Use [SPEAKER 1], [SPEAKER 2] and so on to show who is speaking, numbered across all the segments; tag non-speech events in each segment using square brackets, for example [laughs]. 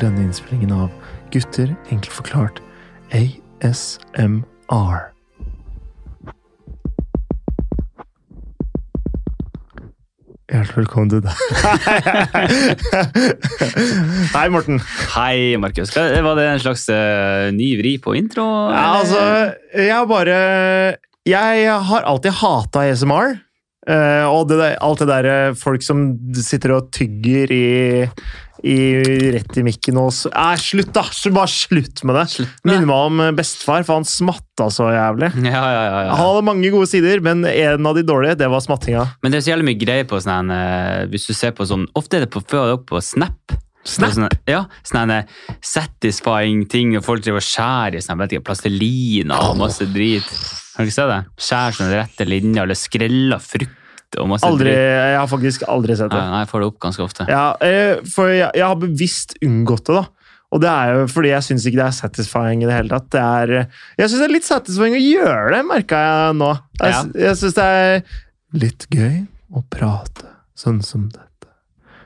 [SPEAKER 1] denne innspillingen av Gutter enkelt forklart ASMR. Hjertelig velkommen til deg. [laughs] Hei, Morten.
[SPEAKER 2] Hei, Markus. Hva- Var det en slags eh, ny vri på intro?
[SPEAKER 1] Ja, altså, jeg har bare Jeg har alltid hata ASMR. eh, og det der, alt det derre folk som sitter og tygger i, i rett i mikken og så Nei, slutt, da! Så Bare slutt med det. Minner meg om eh, bestefar, for han smatta så jævlig.
[SPEAKER 2] Ja, ja, ja,
[SPEAKER 1] Han
[SPEAKER 2] ja.
[SPEAKER 1] hadde mange gode sider, men en av de dårlige, det var smattinga.
[SPEAKER 2] Men det er så jævlig mye greier på sånn eh, Hvis du ser på sånn Ofte er det på, før det er på Snap.
[SPEAKER 1] Snap?
[SPEAKER 2] Sånn, ja, sånne satisfying ting, og folk driver og skjærer i sånn, vet ikke, plastelina og masse drit. Har du ikke sett det? Skjærer sånne rette linjer, eller skreller frukt og masse
[SPEAKER 1] Aldri,
[SPEAKER 2] drit.
[SPEAKER 1] jeg har faktisk aldri sett
[SPEAKER 2] Nei,
[SPEAKER 1] det.
[SPEAKER 2] nei, jeg får det opp ganske ofte.
[SPEAKER 1] Ja, eh, for jeg, jeg har bevisst unngått det, da. Og det er jo fordi jeg syns ikke det er satisfying i det hele tatt. Det er, eh, jeg syns det er litt satisfying å gjøre det, merka jeg nå. Jeg,
[SPEAKER 2] Ja.
[SPEAKER 1] s- jeg syns det er litt gøy å prate sånn som dette.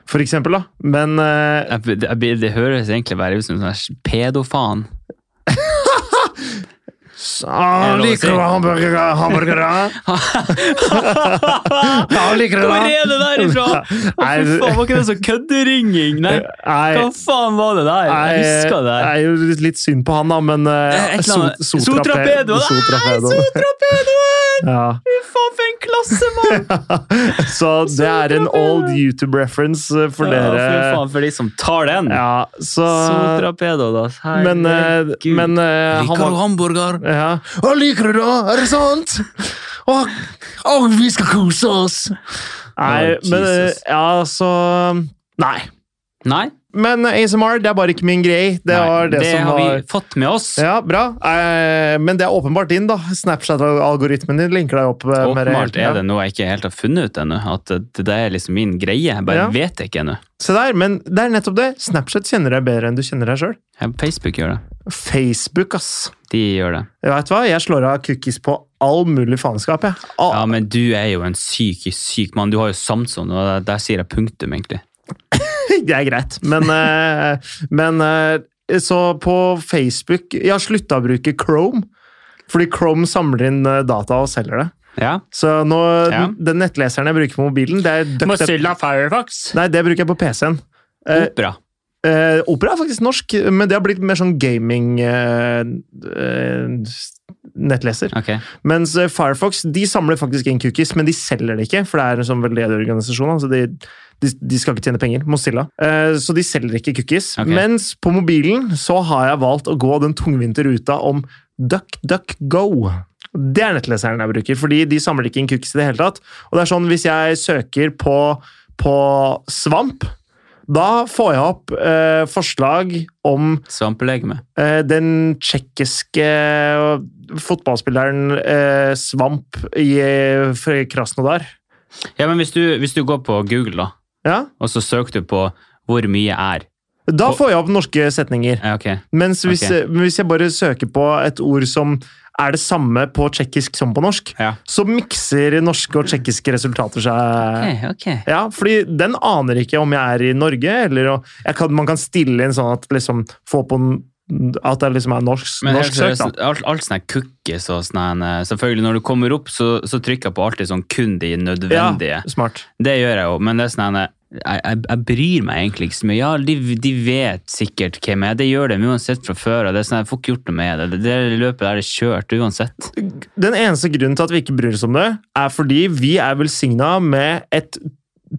[SPEAKER 1] For eksempel, da. Men eh,
[SPEAKER 2] Jeg, det, jeg, det høres egentlig bare ut som en sånn pedofaen.
[SPEAKER 1] s- ah,
[SPEAKER 2] Er det lov å
[SPEAKER 1] Liker
[SPEAKER 2] si?
[SPEAKER 1] du hamburgere? Hamburgere?
[SPEAKER 2] [laughs]
[SPEAKER 1] Ja, liker du
[SPEAKER 2] Hvor
[SPEAKER 1] det?
[SPEAKER 2] er det der
[SPEAKER 1] [laughs]
[SPEAKER 2] ifra? Å, fy
[SPEAKER 1] Nei, det-
[SPEAKER 2] faen, var ikke det sånn kødderinging? Nei, hva
[SPEAKER 1] Nei,
[SPEAKER 2] faen var det der? Jeg husker det
[SPEAKER 1] det
[SPEAKER 2] der.
[SPEAKER 1] er jo litt- litt synd på han, da, men
[SPEAKER 2] Eh,
[SPEAKER 1] eh,
[SPEAKER 2] et eller
[SPEAKER 1] so-
[SPEAKER 2] annet-
[SPEAKER 1] Sotrapedo!
[SPEAKER 2] Sotrapedo. Nei,
[SPEAKER 1] Sotrapedo.
[SPEAKER 2] Sotrapedoen!
[SPEAKER 1] Ja.
[SPEAKER 2] Fy faen, for en klasse, mann!
[SPEAKER 1] Så det er en old YouTube-reference [laughs] for
[SPEAKER 2] Ja, fy
[SPEAKER 1] dere.
[SPEAKER 2] faen, for de som tar den.
[SPEAKER 1] Ja, så
[SPEAKER 2] Sotrapedo, da.
[SPEAKER 1] Men, eh,
[SPEAKER 2] Herregud.
[SPEAKER 1] men eh, han
[SPEAKER 2] Liker du
[SPEAKER 1] var
[SPEAKER 2] hamburger?
[SPEAKER 1] ja. Å, liker du det? Er det sant? Å, å, vi skal kose oss! Nei,
[SPEAKER 2] Å,
[SPEAKER 1] men eh,
[SPEAKER 2] Jesus.
[SPEAKER 1] Ja, så eh, Nei.
[SPEAKER 2] Nei,
[SPEAKER 1] Men eh, ASMR, det er bare ikke min greie. Det
[SPEAKER 2] nei,
[SPEAKER 1] var det, som
[SPEAKER 2] har
[SPEAKER 1] var
[SPEAKER 2] vi fått med oss.
[SPEAKER 1] Ja, bra. Eh, men det er åpenbart din, da. Snapchat-algoritmen din linker deg opp. eh, med det hele
[SPEAKER 2] Åpenbart
[SPEAKER 1] tiden.
[SPEAKER 2] er det noe jeg ikke helt har funnet ut ennå. At det det er liksom min greie. Jeg bare
[SPEAKER 1] Ja.
[SPEAKER 2] vet ikke ennå.
[SPEAKER 1] Se der, men det er nettopp det. Snapchat kjenner deg bedre enn du kjenner deg sjøl.
[SPEAKER 2] Ja, Facebook gjør det.
[SPEAKER 1] Facebook, ass.
[SPEAKER 2] De gjør det.
[SPEAKER 1] Jeg vet hva, jeg slår av cookies på all mulig faenskap, jeg. Ah,
[SPEAKER 2] Ja,
[SPEAKER 1] Al-
[SPEAKER 2] men du er jo en syk, syk mann. Du har jo Samson, og der, der sier jeg punktum, egentlig.
[SPEAKER 1] [laughs] Det er greit, men, eh, men eh, Så på Facebook Jeg har slutta å bruke Chrome, fordi Chrome samler inn eh, data og selger det.
[SPEAKER 2] Ja.
[SPEAKER 1] Så nå,
[SPEAKER 2] Ja.
[SPEAKER 1] den nettleseren jeg bruker på mobilen, det er duct tape-
[SPEAKER 2] Firefox.
[SPEAKER 1] Nei, det bruker jeg på PC-en. Eh,
[SPEAKER 2] Opera.
[SPEAKER 1] eh, opera er faktisk norsk, men det har blitt mer sånn eh, gaming-nettleser.
[SPEAKER 2] Ok.
[SPEAKER 1] Mens eh, Firefox de samler faktisk inn cookies, men de selger det ikke. For det er en sånn veldedig organisasjon. Altså de, de, de skal ikke tjene penger. Mozilla. Eh, så de selger ikke cookies.
[SPEAKER 2] Ok.
[SPEAKER 1] Mens på mobilen så har jeg valgt å gå den tungvinte ruta om DuckDuckGo. Det er nettleseren jeg bruker, fordi de samler ikke inn cookies i det hele tatt. Og det er sånn, hvis jeg søker på, på svamp, da får jeg opp eh, forslag om
[SPEAKER 2] Svampelegeme.
[SPEAKER 1] Eh, Den tsjekkiske fotballspilleren eh, Svamp i eh, fra Krasnodar.
[SPEAKER 2] Ja, men hvis du, hvis du går på Google, da,
[SPEAKER 1] Ja.
[SPEAKER 2] og så søker du på 'hvor mye er'.
[SPEAKER 1] Da
[SPEAKER 2] Og-
[SPEAKER 1] får jeg opp norske setninger.
[SPEAKER 2] Ja, ok.
[SPEAKER 1] Mens hvis,
[SPEAKER 2] Ok.
[SPEAKER 1] eh, hvis jeg bare søker på et ord som er det samme på tsjekkisk som på norsk,
[SPEAKER 2] Ja.
[SPEAKER 1] så mikser norske og tsjekkiske resultater seg.
[SPEAKER 2] Ok, ok.
[SPEAKER 1] Ja, fordi den aner ikke om jeg er i Norge, eller å- jeg kan, man kan stille inn sånn at liksom få på n- at det liksom er norsk,
[SPEAKER 2] Men
[SPEAKER 1] norsk
[SPEAKER 2] helt
[SPEAKER 1] søkt, da.
[SPEAKER 2] seriøst, alt, alt sånne cookies og sånn her, Selvfølgelig, når du kommer opp, så, så trykker jeg på alltid sånn kun de
[SPEAKER 1] Ja,
[SPEAKER 2] nødvendige.
[SPEAKER 1] smart.
[SPEAKER 2] Det gjør jeg jo, men det er sånn her, jeg, jeg, jeg bryr meg egentlig ikke så mye. Ja, de, de vet sikkert hvem jeg er. Det gjør de uansett fra før. Og det er sånn, jeg får ikke gjort noe med det. Det, det løpet der er kjørt uansett.
[SPEAKER 1] Den eneste grunnen til at vi ikke bryr oss om det, er fordi vi er velsigna med et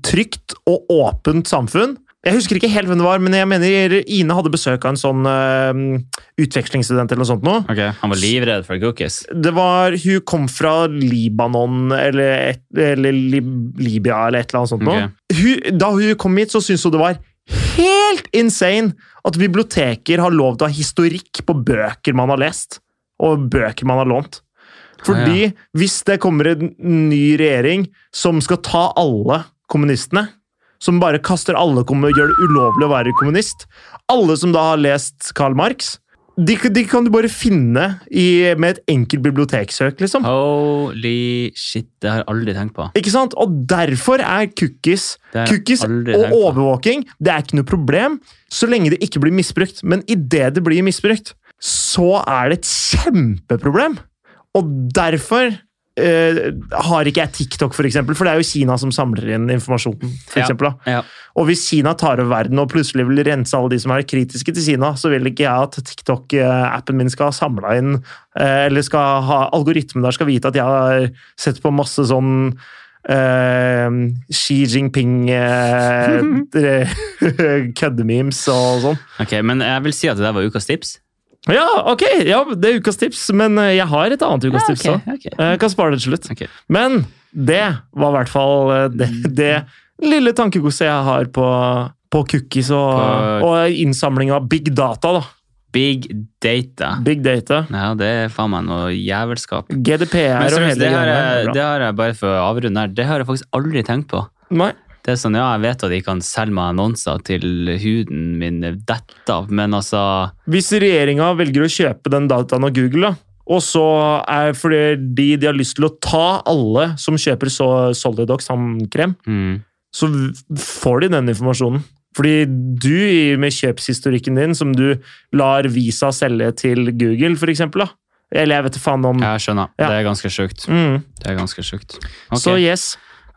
[SPEAKER 1] trygt og åpent samfunn. Jeg husker ikke helt hvem det var, men jeg mener Ine hadde besøk av en sånn eh, utvekslingsstudent eller noe sånt. Nå.
[SPEAKER 2] Han var livredd for cookies.
[SPEAKER 1] Det var, hun kom fra Libanon eller, et, eller Lib Libya eller et eller annet sånt. nå.
[SPEAKER 2] Ok.
[SPEAKER 1] Hun, da hun kom hit, så syntes hun det var helt insane at biblioteker har lov til å ha historikk på bøker man har lest, og bøker man har lånt. Fordi hvis det kommer en ny regjering som skal ta alle kommunistene, som bare kaster alle kommu- gjør det ulovlig å være kommunist, alle som da har lest Karl Marx, de, de kan du bare finne i, med et enkelt biblioteksøk, liksom.
[SPEAKER 2] Holy shit, det har jeg aldri tenkt på.
[SPEAKER 1] Ikke sant? Og derfor er cookies
[SPEAKER 2] Det har jeg
[SPEAKER 1] Cookies
[SPEAKER 2] aldri
[SPEAKER 1] og
[SPEAKER 2] tenkt på.
[SPEAKER 1] overvåking det er ikke noe problem så lenge det ikke blir misbrukt. Men idet det blir misbrukt, så er det et kjempeproblem. Og derfor eh, har ikke jeg TikTok, for eksempel, for det er jo Kina som samler inn informasjon. For
[SPEAKER 2] Ja.
[SPEAKER 1] eksempel, da.
[SPEAKER 2] Ja.
[SPEAKER 1] Og hvis Kina tar over verden og plutselig vil rense alle de som er kritiske til Kina, så vil ikke jeg at TikTok-appen min skal ha samla inn eh, Eller skal ha algoritmen der skal vite at jeg har sett på masse sånn eh, Xi [laughs] Jinping-køddememes og sånn.
[SPEAKER 2] Ok, Men jeg vil si at det der var ukas tips.
[SPEAKER 1] Ja, ok! Ja, det er ukas tips, men eh, jeg har et annet ukas tips òg.
[SPEAKER 2] Ah, ok,
[SPEAKER 1] Eh, Jeg kan spare det til slutt.
[SPEAKER 2] ok.
[SPEAKER 1] Men det var i hvert fall eh, det, det lille tankegodset jeg har på, på cookies og,
[SPEAKER 2] På-
[SPEAKER 1] og innsamling av big data. da.
[SPEAKER 2] Big data.
[SPEAKER 1] Big data.
[SPEAKER 2] Ja, det er faen meg noe jævelskap.
[SPEAKER 1] GDPR
[SPEAKER 2] Men
[SPEAKER 1] og
[SPEAKER 2] seriøst,
[SPEAKER 1] hele
[SPEAKER 2] det, har
[SPEAKER 1] greia
[SPEAKER 2] jeg,
[SPEAKER 1] der.
[SPEAKER 2] det har jeg bare for å avrunde her, det har jeg faktisk aldri tenkt på.
[SPEAKER 1] Nei.
[SPEAKER 2] Det er sånn, ja, jeg vet at de kan selge meg annonser til huden min dette av, men altså
[SPEAKER 1] Hvis regjeringa velger å kjøpe den dataen av Google, da, og så er fordi de har lyst til å ta alle som kjøper så Solidox tannkrem,
[SPEAKER 2] mm,
[SPEAKER 1] så v- får de den informasjonen. Fordi du, i- med kjøpshistorikken din, som du lar Visa selge til Google, for eksempel, da. Eller jeg vet ikke faen om
[SPEAKER 2] Jeg skjønner.
[SPEAKER 1] Ja.
[SPEAKER 2] Det er ganske sjukt.
[SPEAKER 1] mm.
[SPEAKER 2] Det er ganske sjukt. Ok,
[SPEAKER 1] Så yes.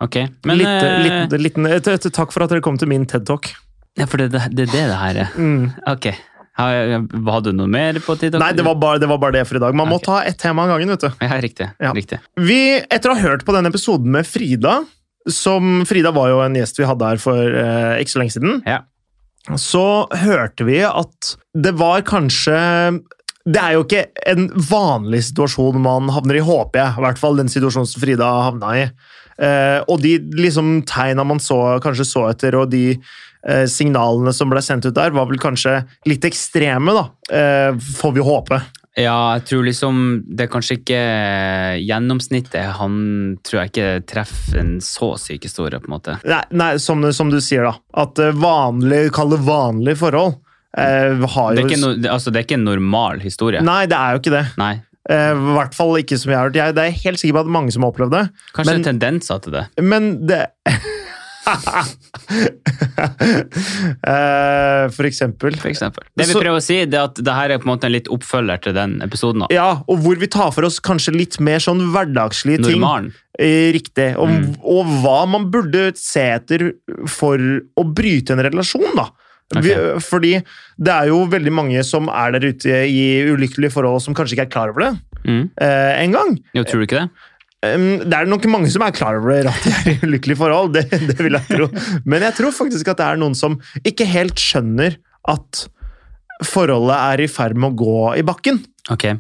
[SPEAKER 2] ok. Men
[SPEAKER 1] litt,
[SPEAKER 2] eh,
[SPEAKER 1] litt, liten- et, et, takk for at dere kom til min TED-talk.
[SPEAKER 2] Ja, for det det- det er det det her er.
[SPEAKER 1] Mm.
[SPEAKER 2] Ok. Har- Hadde du noe mer på TikTok?
[SPEAKER 1] Nei, det var, bare, det var bare det for i dag. Man må
[SPEAKER 2] Ok.
[SPEAKER 1] ta ett tema av gangen, vet du.
[SPEAKER 2] Ja, riktig.
[SPEAKER 1] Ja.
[SPEAKER 2] riktig.
[SPEAKER 1] Vi, etter å ha hørt på denne episoden med Frida, som Frida var jo en gjest vi hadde her for eh, ikke så lenge siden,
[SPEAKER 2] Ja.
[SPEAKER 1] så hørte vi at det var kanskje det er jo ikke en vanlig situasjon man havner i, håper jeg. I hvert fall den situasjonen som Frida havna i. Eh, og de liksom, tegna man så, kanskje så etter, og de eh, signalene som ble sendt ut der, var vel kanskje litt ekstreme, da. Eh, får vi håpe.
[SPEAKER 2] Ja, jeg tror liksom det er kanskje ikke gjennomsnittet. Han tror jeg ikke treffer en så syk historie, på en måte.
[SPEAKER 1] Nei, nei som, som du sier, da. At eh, vanlig, kall det vanlige forhold, eh, har jo
[SPEAKER 2] Det er ikke, no, det- altså, det er ikke en normal historie. Nei.
[SPEAKER 1] Nei, det er jo ikke det. Eh, I hvert fall ikke som jeg har hørt. Jeg, det er jeg helt sikker på at mange som har opplevd det.
[SPEAKER 2] Kanskje
[SPEAKER 1] Men-
[SPEAKER 2] tendenser til det.
[SPEAKER 1] Men det [laughs] Eh, For eksempel.
[SPEAKER 2] For eksempel. det vi
[SPEAKER 1] Så-
[SPEAKER 2] prøver å si, det er at det her er på en måte en litt oppfølger til den episoden. da.
[SPEAKER 1] Ja, og hvor vi tar for oss kanskje litt mer sånn hverdagslige ting.
[SPEAKER 2] Normalen.
[SPEAKER 1] Eh, Riktig. Og, og hva man burde se etter for å bryte en relasjon, da. Vi, fordi det er jo veldig mange som er der ute i ulykkelige forhold som kanskje ikke er klar over det
[SPEAKER 2] Mm.
[SPEAKER 1] eh, engang.
[SPEAKER 2] Jo, tror du ikke det?
[SPEAKER 1] Um, det er nok mange som er klar over at de er i ulykkelige forhold, det, det vil jeg tro. Men jeg tror faktisk at det er noen som ikke helt skjønner at forholdet er i ferd med å gå i bakken.
[SPEAKER 2] Ok.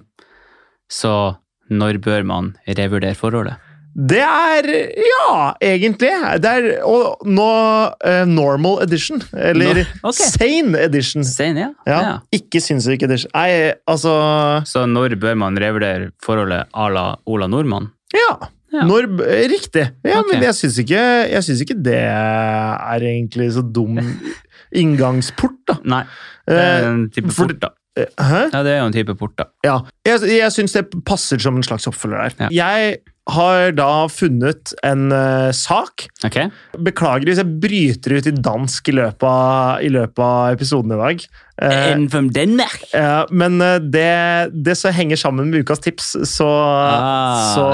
[SPEAKER 2] Så når bør man revurdere forholdet?
[SPEAKER 1] Det er Ja, egentlig. Det er og nå eh, normal edition. Eller
[SPEAKER 2] Nå- ok.
[SPEAKER 1] sane edition.
[SPEAKER 2] Sein, ja.
[SPEAKER 1] Ja,
[SPEAKER 2] ja.
[SPEAKER 1] Ikke sinnssyk edition. Nei, altså
[SPEAKER 2] Så når bør man revurdere forholdet à la Ola Nordmann?
[SPEAKER 1] Ja.
[SPEAKER 2] Ja.
[SPEAKER 1] Når, riktig. Ja,
[SPEAKER 2] Ok.
[SPEAKER 1] Men jeg syns ikke, jeg synes ikke det er egentlig så dum inngangsport, da.
[SPEAKER 2] Nei, det er en type
[SPEAKER 1] for-
[SPEAKER 2] port, da.
[SPEAKER 1] Eh, Hæ?
[SPEAKER 2] Ja, det er jo en type port, da.
[SPEAKER 1] Ja. Jeg, jeg syns det passer som en slags oppfølger der. Jeg har da funnet en eh, sak.
[SPEAKER 2] Ok?
[SPEAKER 1] Beklager hvis jeg bryter ut i dansk i løpet av, i løpet av episoden i dag. Eh,
[SPEAKER 2] En from Denmark!
[SPEAKER 1] eh, men eh, det, det som henger sammen med ukas tips, så,
[SPEAKER 2] Ah,
[SPEAKER 1] så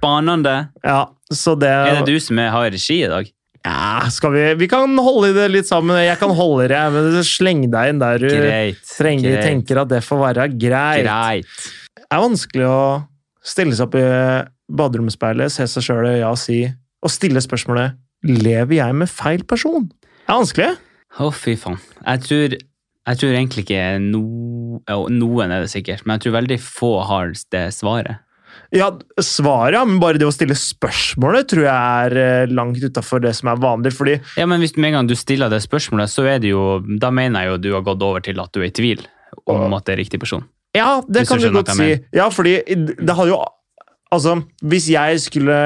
[SPEAKER 2] Spennende.
[SPEAKER 1] Ja, så det,
[SPEAKER 2] Er det du som er, har regi i dag?
[SPEAKER 1] Ja, skal vi Vi kan holde i det litt sammen. Jeg kan holde det, jeg, men sleng deg inn der du
[SPEAKER 2] Greit.
[SPEAKER 1] trenger,
[SPEAKER 2] greit,
[SPEAKER 1] tenker at det får være greit.
[SPEAKER 2] Greit.
[SPEAKER 1] Det er vanskelig å stille seg opp i baderomsspeilet, se seg sjøl i øya og si Og stille spørsmålet Lever jeg med feil person? Det er vanskelig.
[SPEAKER 2] Å, fy faen. Jeg tror, jeg tror egentlig ikke no, jo, noen er det sikkert, men jeg tror veldig få har det svaret.
[SPEAKER 1] Ja, svaret, ja, men bare det å stille spørsmålet tror jeg er eh, langt utafor det som er vanlig. Fordi
[SPEAKER 2] Ja, men hvis med en gang du stiller det spørsmålet, så er det jo, da mener jeg jo du har gått over til at du er i tvil om at det er riktig person.
[SPEAKER 1] Ja, det
[SPEAKER 2] Hvis
[SPEAKER 1] kan
[SPEAKER 2] du
[SPEAKER 1] du
[SPEAKER 2] skjønner
[SPEAKER 1] godt
[SPEAKER 2] hva
[SPEAKER 1] si.
[SPEAKER 2] jeg
[SPEAKER 1] Ja, fordi det hadde jo Altså, hvis jeg skulle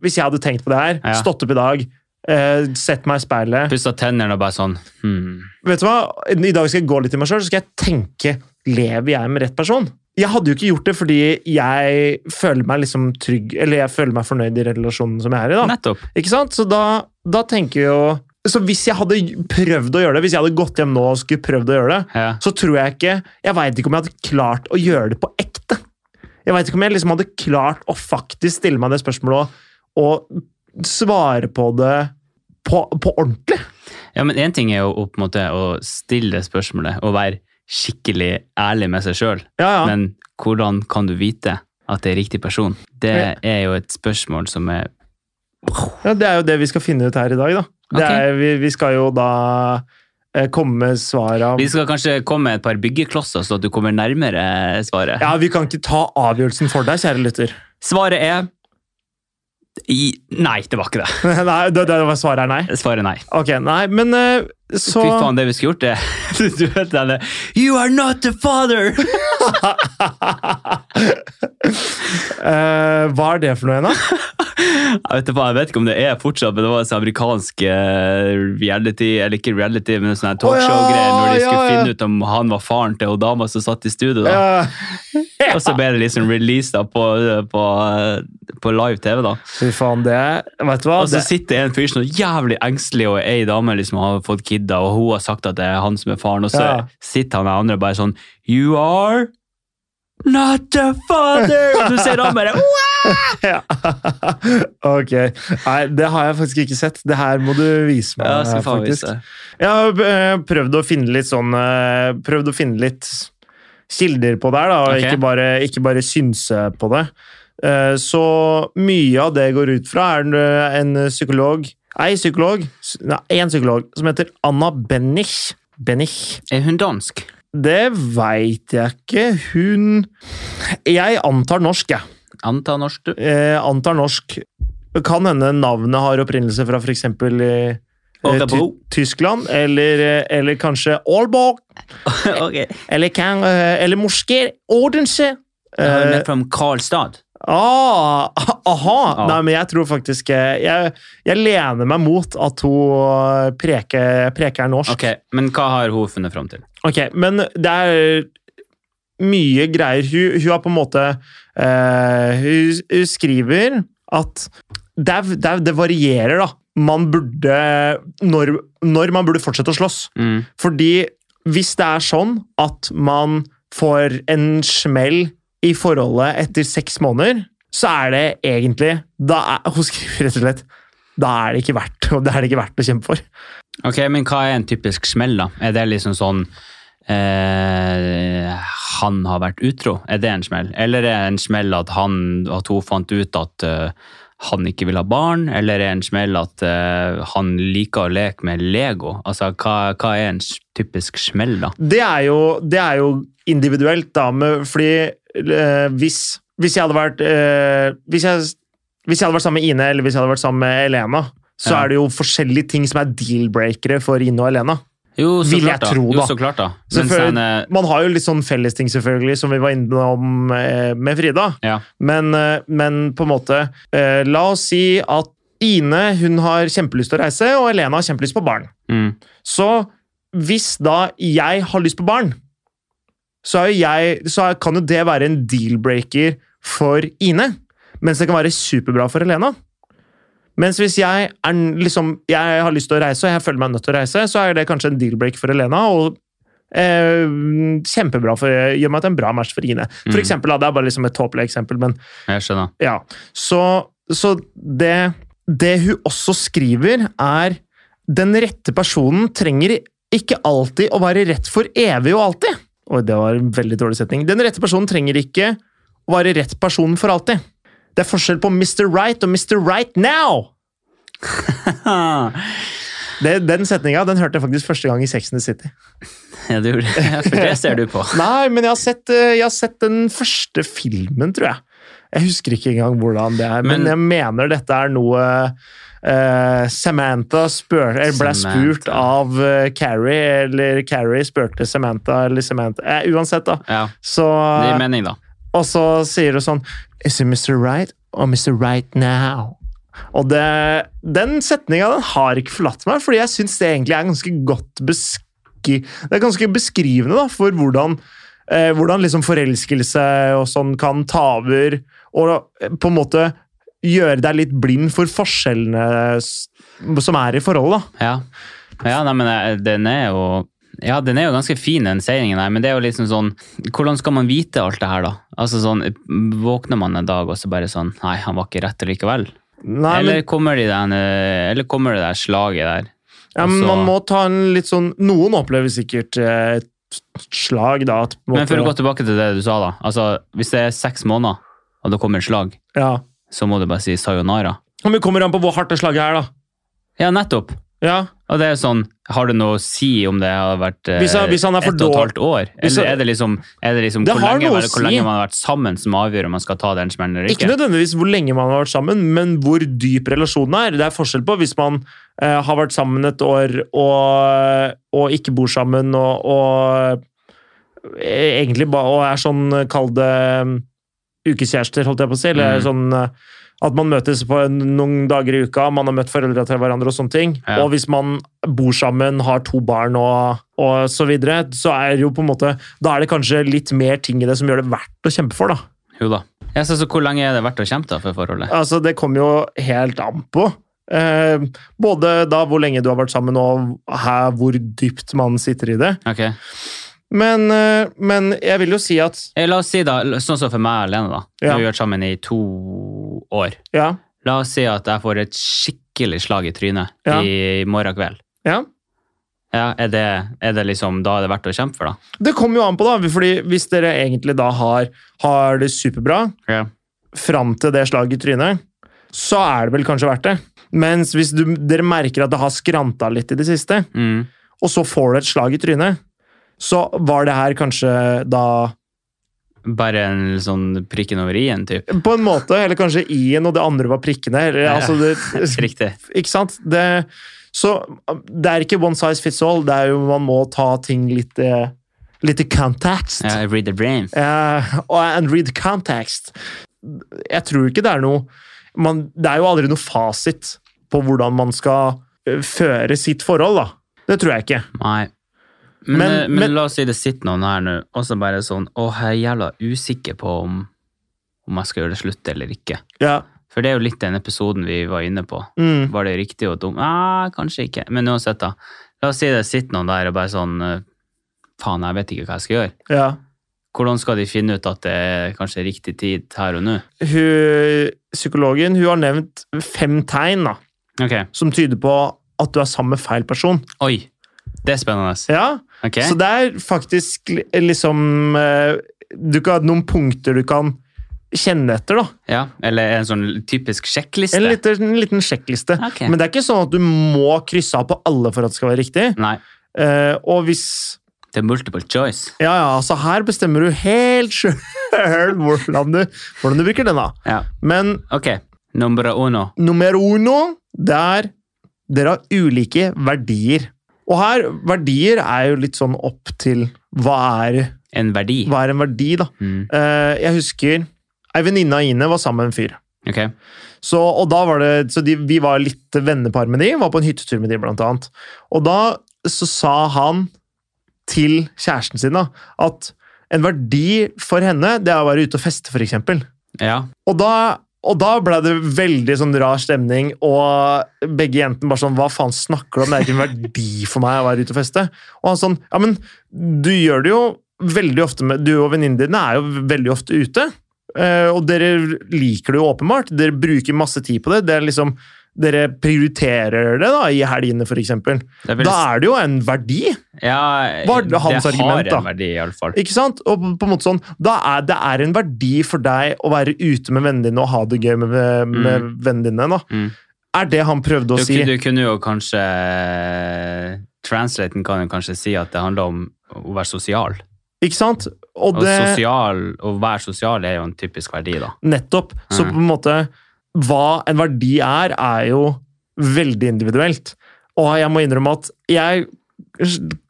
[SPEAKER 1] Hvis jeg hadde tenkt på det her,
[SPEAKER 2] Ja.
[SPEAKER 1] stått opp i dag, eh, sett meg i speilet
[SPEAKER 2] Pusset tennene og bare sånn, hmm.
[SPEAKER 1] Vet du hva? I dag skal jeg gå litt i meg sjøl, så skal jeg tenke lever jeg med rett person? Jeg hadde jo ikke gjort det fordi jeg føler meg liksom trygg, eller jeg føler meg fornøyd i relasjonen som jeg er i. da.
[SPEAKER 2] Nettopp.
[SPEAKER 1] Ikke sant? Så da, da tenker jeg jo Så hvis jeg hadde prøvd å gjøre det, hvis jeg hadde gått hjem nå og skulle prøvd å gjøre det,
[SPEAKER 2] Ja.
[SPEAKER 1] så tror jeg ikke Jeg veit ikke om jeg hadde klart å gjøre det på ekte. Jeg veit ikke om jeg liksom hadde klart å faktisk stille meg det spørsmålet og, og svare på det på, på ordentlig.
[SPEAKER 2] Ja, men én ting er jo å, på en måte, å stille det spørsmålet og være skikkelig ærlig med seg sjøl,
[SPEAKER 1] Ja, ja.
[SPEAKER 2] men hvordan kan du vite at det er riktig person? Det er jo et spørsmål som er
[SPEAKER 1] ja, det er jo det vi skal finne ut her i dag, da. Det
[SPEAKER 2] Ok.
[SPEAKER 1] er, vi, vi skal jo da eh, komme med svar av
[SPEAKER 2] Vi skal kanskje komme med et par byggeklosser, så at du kommer nærmere svaret.
[SPEAKER 1] Ja, vi kan ikke ta avgjørelsen for deg, kjære lytter. [laughs]
[SPEAKER 2] Svaret er i, Nei, det var ikke det.
[SPEAKER 1] nei, det, det var svaret er nei.
[SPEAKER 2] Svaret er nei.
[SPEAKER 1] Ok, nei, men eh, så
[SPEAKER 2] Fy faen, det vi skulle gjort, det [laughs] Du vet denne You are not the father!
[SPEAKER 1] [laughs]
[SPEAKER 2] [laughs]
[SPEAKER 1] Eh, Hva er det for noe igjen, da?
[SPEAKER 2] Jeg vet, ikke hva, jeg vet ikke om det er fortsatt, men det var sånn amerikansk eh, reality, eller ikke reality, men sånn her talkshow-greier, når
[SPEAKER 1] Å,
[SPEAKER 2] de
[SPEAKER 1] ja,
[SPEAKER 2] skulle
[SPEAKER 1] ja, ja.
[SPEAKER 2] finne ut om han var faren til hun dama som satt i studio. da.
[SPEAKER 1] Eh,
[SPEAKER 2] Og så ble det liksom released da, på, på, på live TV, da.
[SPEAKER 1] Fy faen, det Vet du hva?
[SPEAKER 2] Og så
[SPEAKER 1] Det,
[SPEAKER 2] sitter en fyr sånn jævlig engstelig, og ei dame liksom har fått kidda, og hun har sagt at det er han som er faren, og så
[SPEAKER 1] Ja.
[SPEAKER 2] sitter han der andre bare sånn You are not the father! Og du ser han bare «Wow!»
[SPEAKER 1] ja. [laughs] Ok. Nei, det har jeg faktisk ikke sett. Det her må du vise meg.
[SPEAKER 2] Ja, skal faen
[SPEAKER 1] faktisk.
[SPEAKER 2] vise.
[SPEAKER 1] Jeg har eh, prøvd å finne litt sånn eh, Prøvd å finne litt kilder på det her, da. og
[SPEAKER 2] Ok.
[SPEAKER 1] Ikke, bare, ikke bare synse på det. Eh, Så mye av det jeg går ut fra, er en- en psykolog Ei psykolog, s- nei, en psykolog som heter Anna Bennich. Bennich.
[SPEAKER 2] Er hun dansk?
[SPEAKER 1] Det veit jeg ikke. Hun Jeg antar norsk, jeg.
[SPEAKER 2] Anta norsk,
[SPEAKER 1] [laughs]
[SPEAKER 2] du.
[SPEAKER 1] Eh, antar norsk. Kan hende navnet har opprinnelse fra f.eks. Eh,
[SPEAKER 2] Ålborg.
[SPEAKER 1] Ty Tyskland, eller, eh, eller kanskje Aalborg,
[SPEAKER 2] ok.
[SPEAKER 1] eller, kan, eh, eller morske Odense.
[SPEAKER 2] Hun
[SPEAKER 1] Eh,
[SPEAKER 2] er fra Karlstad.
[SPEAKER 1] ah, [laughs] aha!
[SPEAKER 2] Ja.
[SPEAKER 1] Nei, men jeg tror faktisk eh, jeg, jeg lener meg mot at hun eh, preker, preker norsk.
[SPEAKER 2] Ok, Men hva har hun funnet fram til?
[SPEAKER 1] Ok, men det er mye greier. Hun, hun har på en måte eh, hun, hun skriver at det, er, det, er, det varierer, da. Man burde når, når man burde fortsette å slåss.
[SPEAKER 2] Mm.
[SPEAKER 1] Fordi hvis det er sånn at man får en smell i forholdet etter seks måneder, så er det egentlig da er, Hun skriver rett og slett da er det ikke verdt, [laughs] og det er det ikke verdt å kjempe for.
[SPEAKER 2] Ok, Men hva er en typisk smell, da? Er det liksom sånn eh, Han har vært utro? Er det en smell? Eller er det en smell at, han, at hun fant ut at eh, han ikke vil ha barn? Eller er det en smell at eh, han liker å leke med Lego? Altså, hva, hva er en s- typisk smell, da?
[SPEAKER 1] Det er jo, det er jo individuelt, da, med, fordi eh, hvis, hvis jeg hadde vært eh, hvis, jeg, hvis jeg hadde vært sammen med Ine, eller hvis jeg hadde vært sammen med Elena, så
[SPEAKER 2] Ja.
[SPEAKER 1] er det jo forskjellige ting som er deal-breakere for Ine og Elena.
[SPEAKER 2] Jo, så
[SPEAKER 1] Vil jeg
[SPEAKER 2] klart, da.
[SPEAKER 1] tro,
[SPEAKER 2] Jo,
[SPEAKER 1] da.
[SPEAKER 2] så klart, da. Men
[SPEAKER 1] Selvfølgelig-
[SPEAKER 2] sen, eh,
[SPEAKER 1] Man har jo litt sånn fellesting, selvfølgelig, som vi var innom eh, med Frida.
[SPEAKER 2] ja.
[SPEAKER 1] Men, eh, men på en måte eh, La oss si at Ine hun har kjempelyst til å reise, og Elena har kjempelyst på barn.
[SPEAKER 2] Mm.
[SPEAKER 1] Så hvis da jeg har lyst på barn, så, er jo jeg, så er, kan jo det være en deal-breaker for Ine. Mens det kan være superbra for Helena. Mens hvis jeg, er, n- liksom, jeg har lyst til å reise, og jeg føler meg nødt til å reise, så er det kanskje en deal-break for Helena. og eh, kjempebra for, Gjør meg til en bra match for Ine. For
[SPEAKER 2] Mhm.
[SPEAKER 1] eksempel, da, det er bare liksom et tåpelig eksempel, men
[SPEAKER 2] Jeg [laughs] skjønner.
[SPEAKER 1] ja, så, så det, det hun også skriver er den rette personen trenger ikke alltid å være rett for evig og alltid. Oi, det var en veldig dårlig setning. Den rette personen trenger ikke å være rett person for alltid. Det er forskjell på Mr. Right og Mr. Right Now! Det, den setninga den hørte jeg faktisk første gang i Sex and the City.
[SPEAKER 2] Ja, det gjorde [laughs] jeg. For det ser du på.
[SPEAKER 1] Nei, men jeg har sett, eh, jeg har sett den første filmen, tror jeg. Jeg husker ikke engang hvordan det er, men,
[SPEAKER 2] Men-
[SPEAKER 1] jeg mener dette er noe eh, Samantha spør, eller ble spurt
[SPEAKER 2] Samantha.
[SPEAKER 1] av eh, Carrie, eller Carrie spurte Samantha, eller Samantha eh, Uansett, da.
[SPEAKER 2] Ja,
[SPEAKER 1] Så,
[SPEAKER 2] det gir mening, da.
[SPEAKER 1] og så sier du sånn Is it Mr. Right or Mr. Right now? Og det, den setninga den har ikke forlatt meg, fordi jeg syns det egentlig er ganske godt beski det er ganske beskrivende da, for hvordan eh, hvordan liksom forelskelse og sånn kan ta over, og eh, på en måte gjøre deg litt blind for forskjellene s- som er i forholdet. da.
[SPEAKER 2] Ja, ja nei, men jeg- den er jo ja, den er jo ganske fin, den seiringen her, men det er jo liksom sånn Hvordan skal man vite alt det her, da? Altså sånn, Våkner man en dag og så bare sånn Nei, han var ikke rett likevel.
[SPEAKER 1] Nei,
[SPEAKER 2] eller,
[SPEAKER 1] men,
[SPEAKER 2] kommer de den, eh, eller kommer det der slaget der?
[SPEAKER 1] ja, men
[SPEAKER 2] altså-
[SPEAKER 1] man må ta en litt sånn Noen opplever sikkert eh, et slag, da. At, på en
[SPEAKER 2] Men for å gå
[SPEAKER 1] måte-
[SPEAKER 2] tilbake til det du sa, da. Altså, Hvis det er seks måneder, og det kommer et slag,
[SPEAKER 1] ja.
[SPEAKER 2] så må du bare si sayonara.
[SPEAKER 1] Men det kommer an på hvor hardt det slaget er, da.
[SPEAKER 2] Ja, nettopp!
[SPEAKER 1] Ja.
[SPEAKER 2] Og det er sånn, Har det noe å si om det har vært eh,
[SPEAKER 1] Hvis han- hvis han er for
[SPEAKER 2] ett og et
[SPEAKER 1] dårlig-
[SPEAKER 2] halvt år?
[SPEAKER 1] Hvis han-
[SPEAKER 2] Eller er det liksom, er det liksom
[SPEAKER 1] Det
[SPEAKER 2] hvor,
[SPEAKER 1] har
[SPEAKER 2] lenge,
[SPEAKER 1] noe å
[SPEAKER 2] man- hvor lenge
[SPEAKER 1] si.
[SPEAKER 2] man har vært sammen som avgjør om man skal ta den smellen eller
[SPEAKER 1] Ikke
[SPEAKER 2] ikke?
[SPEAKER 1] nødvendigvis hvor lenge man har vært sammen, men hvor dyp relasjonen er. Det er forskjell på hvis man eh, har vært sammen et år og, og ikke bor sammen og, og eh, egentlig ba, og er sånn, eh, kall det mm, ukeskjærester, holdt jeg på å si. Eller
[SPEAKER 2] Mm.
[SPEAKER 1] sånn eh, at man møtes på en, noen dager i uka, man har møtt foreldra til hverandre og sånne ting.
[SPEAKER 2] Ja.
[SPEAKER 1] Og hvis man bor sammen, har to barn og, og så videre, så er det jo på en måte Da er det kanskje litt mer ting i det som gjør det verdt å kjempe for, da.
[SPEAKER 2] Jo da. Ja, så, så Hvor lenge er det verdt å kjempe da for forholdet?
[SPEAKER 1] Altså, det kommer jo helt an på. Eh, både da hvor lenge du har vært sammen, og her, hvor dypt man sitter i det.
[SPEAKER 2] Ok.
[SPEAKER 1] Men, eh, men jeg vil jo si at
[SPEAKER 2] Eh, La oss si, da, sånn som for meg og Lene, da. Vi
[SPEAKER 1] Ja.
[SPEAKER 2] har vært sammen i to år.
[SPEAKER 1] Ja.
[SPEAKER 2] La oss si at jeg får et skikkelig slag i trynet
[SPEAKER 1] Ja.
[SPEAKER 2] i morgen kveld.
[SPEAKER 1] ja.
[SPEAKER 2] Ja, er det, er det liksom, Da er det verdt å kjempe for, da?
[SPEAKER 1] Det kommer jo an på, da. fordi hvis dere egentlig da har, har det superbra
[SPEAKER 2] Ja.
[SPEAKER 1] fram til det slaget i trynet, så er det vel kanskje verdt det. Mens hvis du, dere merker at det har skranta litt i det siste,
[SPEAKER 2] Mm.
[SPEAKER 1] og så får du et slag i trynet, så var det her kanskje da
[SPEAKER 2] Bare en sånn prikken over i-en,
[SPEAKER 1] [laughs]
[SPEAKER 2] typ.
[SPEAKER 1] På en måte, eller kanskje i-en, og det andre var prikkene. Eller,
[SPEAKER 2] Ja.
[SPEAKER 1] altså det,
[SPEAKER 2] Riktig.
[SPEAKER 1] ikke sant? Det, så det er ikke one size fits all. Det er jo Man må ta ting litt, eh, litt i context.
[SPEAKER 2] Ja, read the brain.
[SPEAKER 1] Eh, og- and read context. Jeg tror ikke det er noe man, Det er jo aldri noe fasit på hvordan man skal eh, føre sitt forhold, da. Det tror jeg ikke.
[SPEAKER 2] Nei. Men,
[SPEAKER 1] Men-
[SPEAKER 2] eh, men,
[SPEAKER 1] men-
[SPEAKER 2] la oss si det sitter noen her nå, og så bare sånn Å, jeg er jævla usikker på om, om jeg skal gjøre det slutt eller ikke.
[SPEAKER 1] Ja.
[SPEAKER 2] For det er jo litt den episoden vi var inne på.
[SPEAKER 1] Mm.
[SPEAKER 2] Var det riktig og dumt? Nei, kanskje ikke. Men uansett, da. La oss si det sitter noen der og bare sånn eh, Faen, jeg vet ikke hva jeg skal gjøre.
[SPEAKER 1] ja.
[SPEAKER 2] Hvordan skal de finne ut at det er kanskje riktig tid her og nå?
[SPEAKER 1] Hun, psykologen hun har nevnt fem tegn da,
[SPEAKER 2] Ok.
[SPEAKER 1] som tyder på at du er sammen med feil person.
[SPEAKER 2] Oi! Det er spennende.
[SPEAKER 1] Ja,
[SPEAKER 2] Ok.
[SPEAKER 1] Så det er faktisk li- liksom eh, Du kan ha noen punkter du kan kjenne etter, da.
[SPEAKER 2] Ja, eller en sånn typisk sjekkliste.
[SPEAKER 1] En liten, en liten sjekkliste.
[SPEAKER 2] Ah, Ok.
[SPEAKER 1] Men det er ikke sånn at du må krysse av på alle for at det skal være riktig.
[SPEAKER 2] Nei,
[SPEAKER 1] Eh, og hvis
[SPEAKER 2] det er multiple choice.
[SPEAKER 1] Ja, ja, altså her bestemmer du helt sjøl [laughs] hvordan, du- hvordan du bruker den, da.
[SPEAKER 2] Ja.
[SPEAKER 1] Men
[SPEAKER 2] Ok, nummer uno.
[SPEAKER 1] nummer uno, det er Dere har ulike verdier. Og her, verdier er jo litt sånn opp til hva er,
[SPEAKER 2] En verdi.
[SPEAKER 1] hva er en verdi, da.
[SPEAKER 2] Mm.
[SPEAKER 1] Eh, jeg husker Ei venninne av Ine var sammen med en fyr.
[SPEAKER 2] Ok,
[SPEAKER 1] Så, og da var det, så de, vi var litt vennepar med de, var på en hyttetur med de, blant annet. Og da så sa han til kjæresten sin da, at en verdi for henne, det er å være ute og feste, for eksempel.
[SPEAKER 2] ja.
[SPEAKER 1] Og da, og da ble det veldig sånn rar stemning, og begge jentene bare sånn Hva faen snakker du om? Det er ikke en verdi for meg å være ute og feste. Og han sånn Ja, men du gjør det jo veldig ofte med Du og venninnene dine er jo veldig ofte ute. eh, Og dere liker det jo åpenbart. Dere bruker masse tid på det. det er liksom, dere prioriterer det da, i helgene, f.eks.
[SPEAKER 2] Det er vel-
[SPEAKER 1] Da er det jo en verdi.
[SPEAKER 2] ja,
[SPEAKER 1] Hva er det hans argument,
[SPEAKER 2] Det har
[SPEAKER 1] da?
[SPEAKER 2] en verdi, i alle fall.
[SPEAKER 1] Ikke sant? Og på- på en måte sånn, da er det er en verdi for deg å være ute med vennene dine og ha det gøy med, med vennene dine. Da.
[SPEAKER 2] Mm.
[SPEAKER 1] Er det han prøvde å
[SPEAKER 2] Du,
[SPEAKER 1] si?
[SPEAKER 2] du kunne jo kanskje Translaten kan jo kanskje si at det handler om å være sosial.
[SPEAKER 1] Ikke sant? Og
[SPEAKER 2] Og
[SPEAKER 1] det
[SPEAKER 2] sosial, å være sosial er jo en typisk verdi, da.
[SPEAKER 1] nettopp. Så
[SPEAKER 2] Mm.
[SPEAKER 1] på en måte Hva en verdi er, er jo veldig individuelt. Og jeg må innrømme at jeg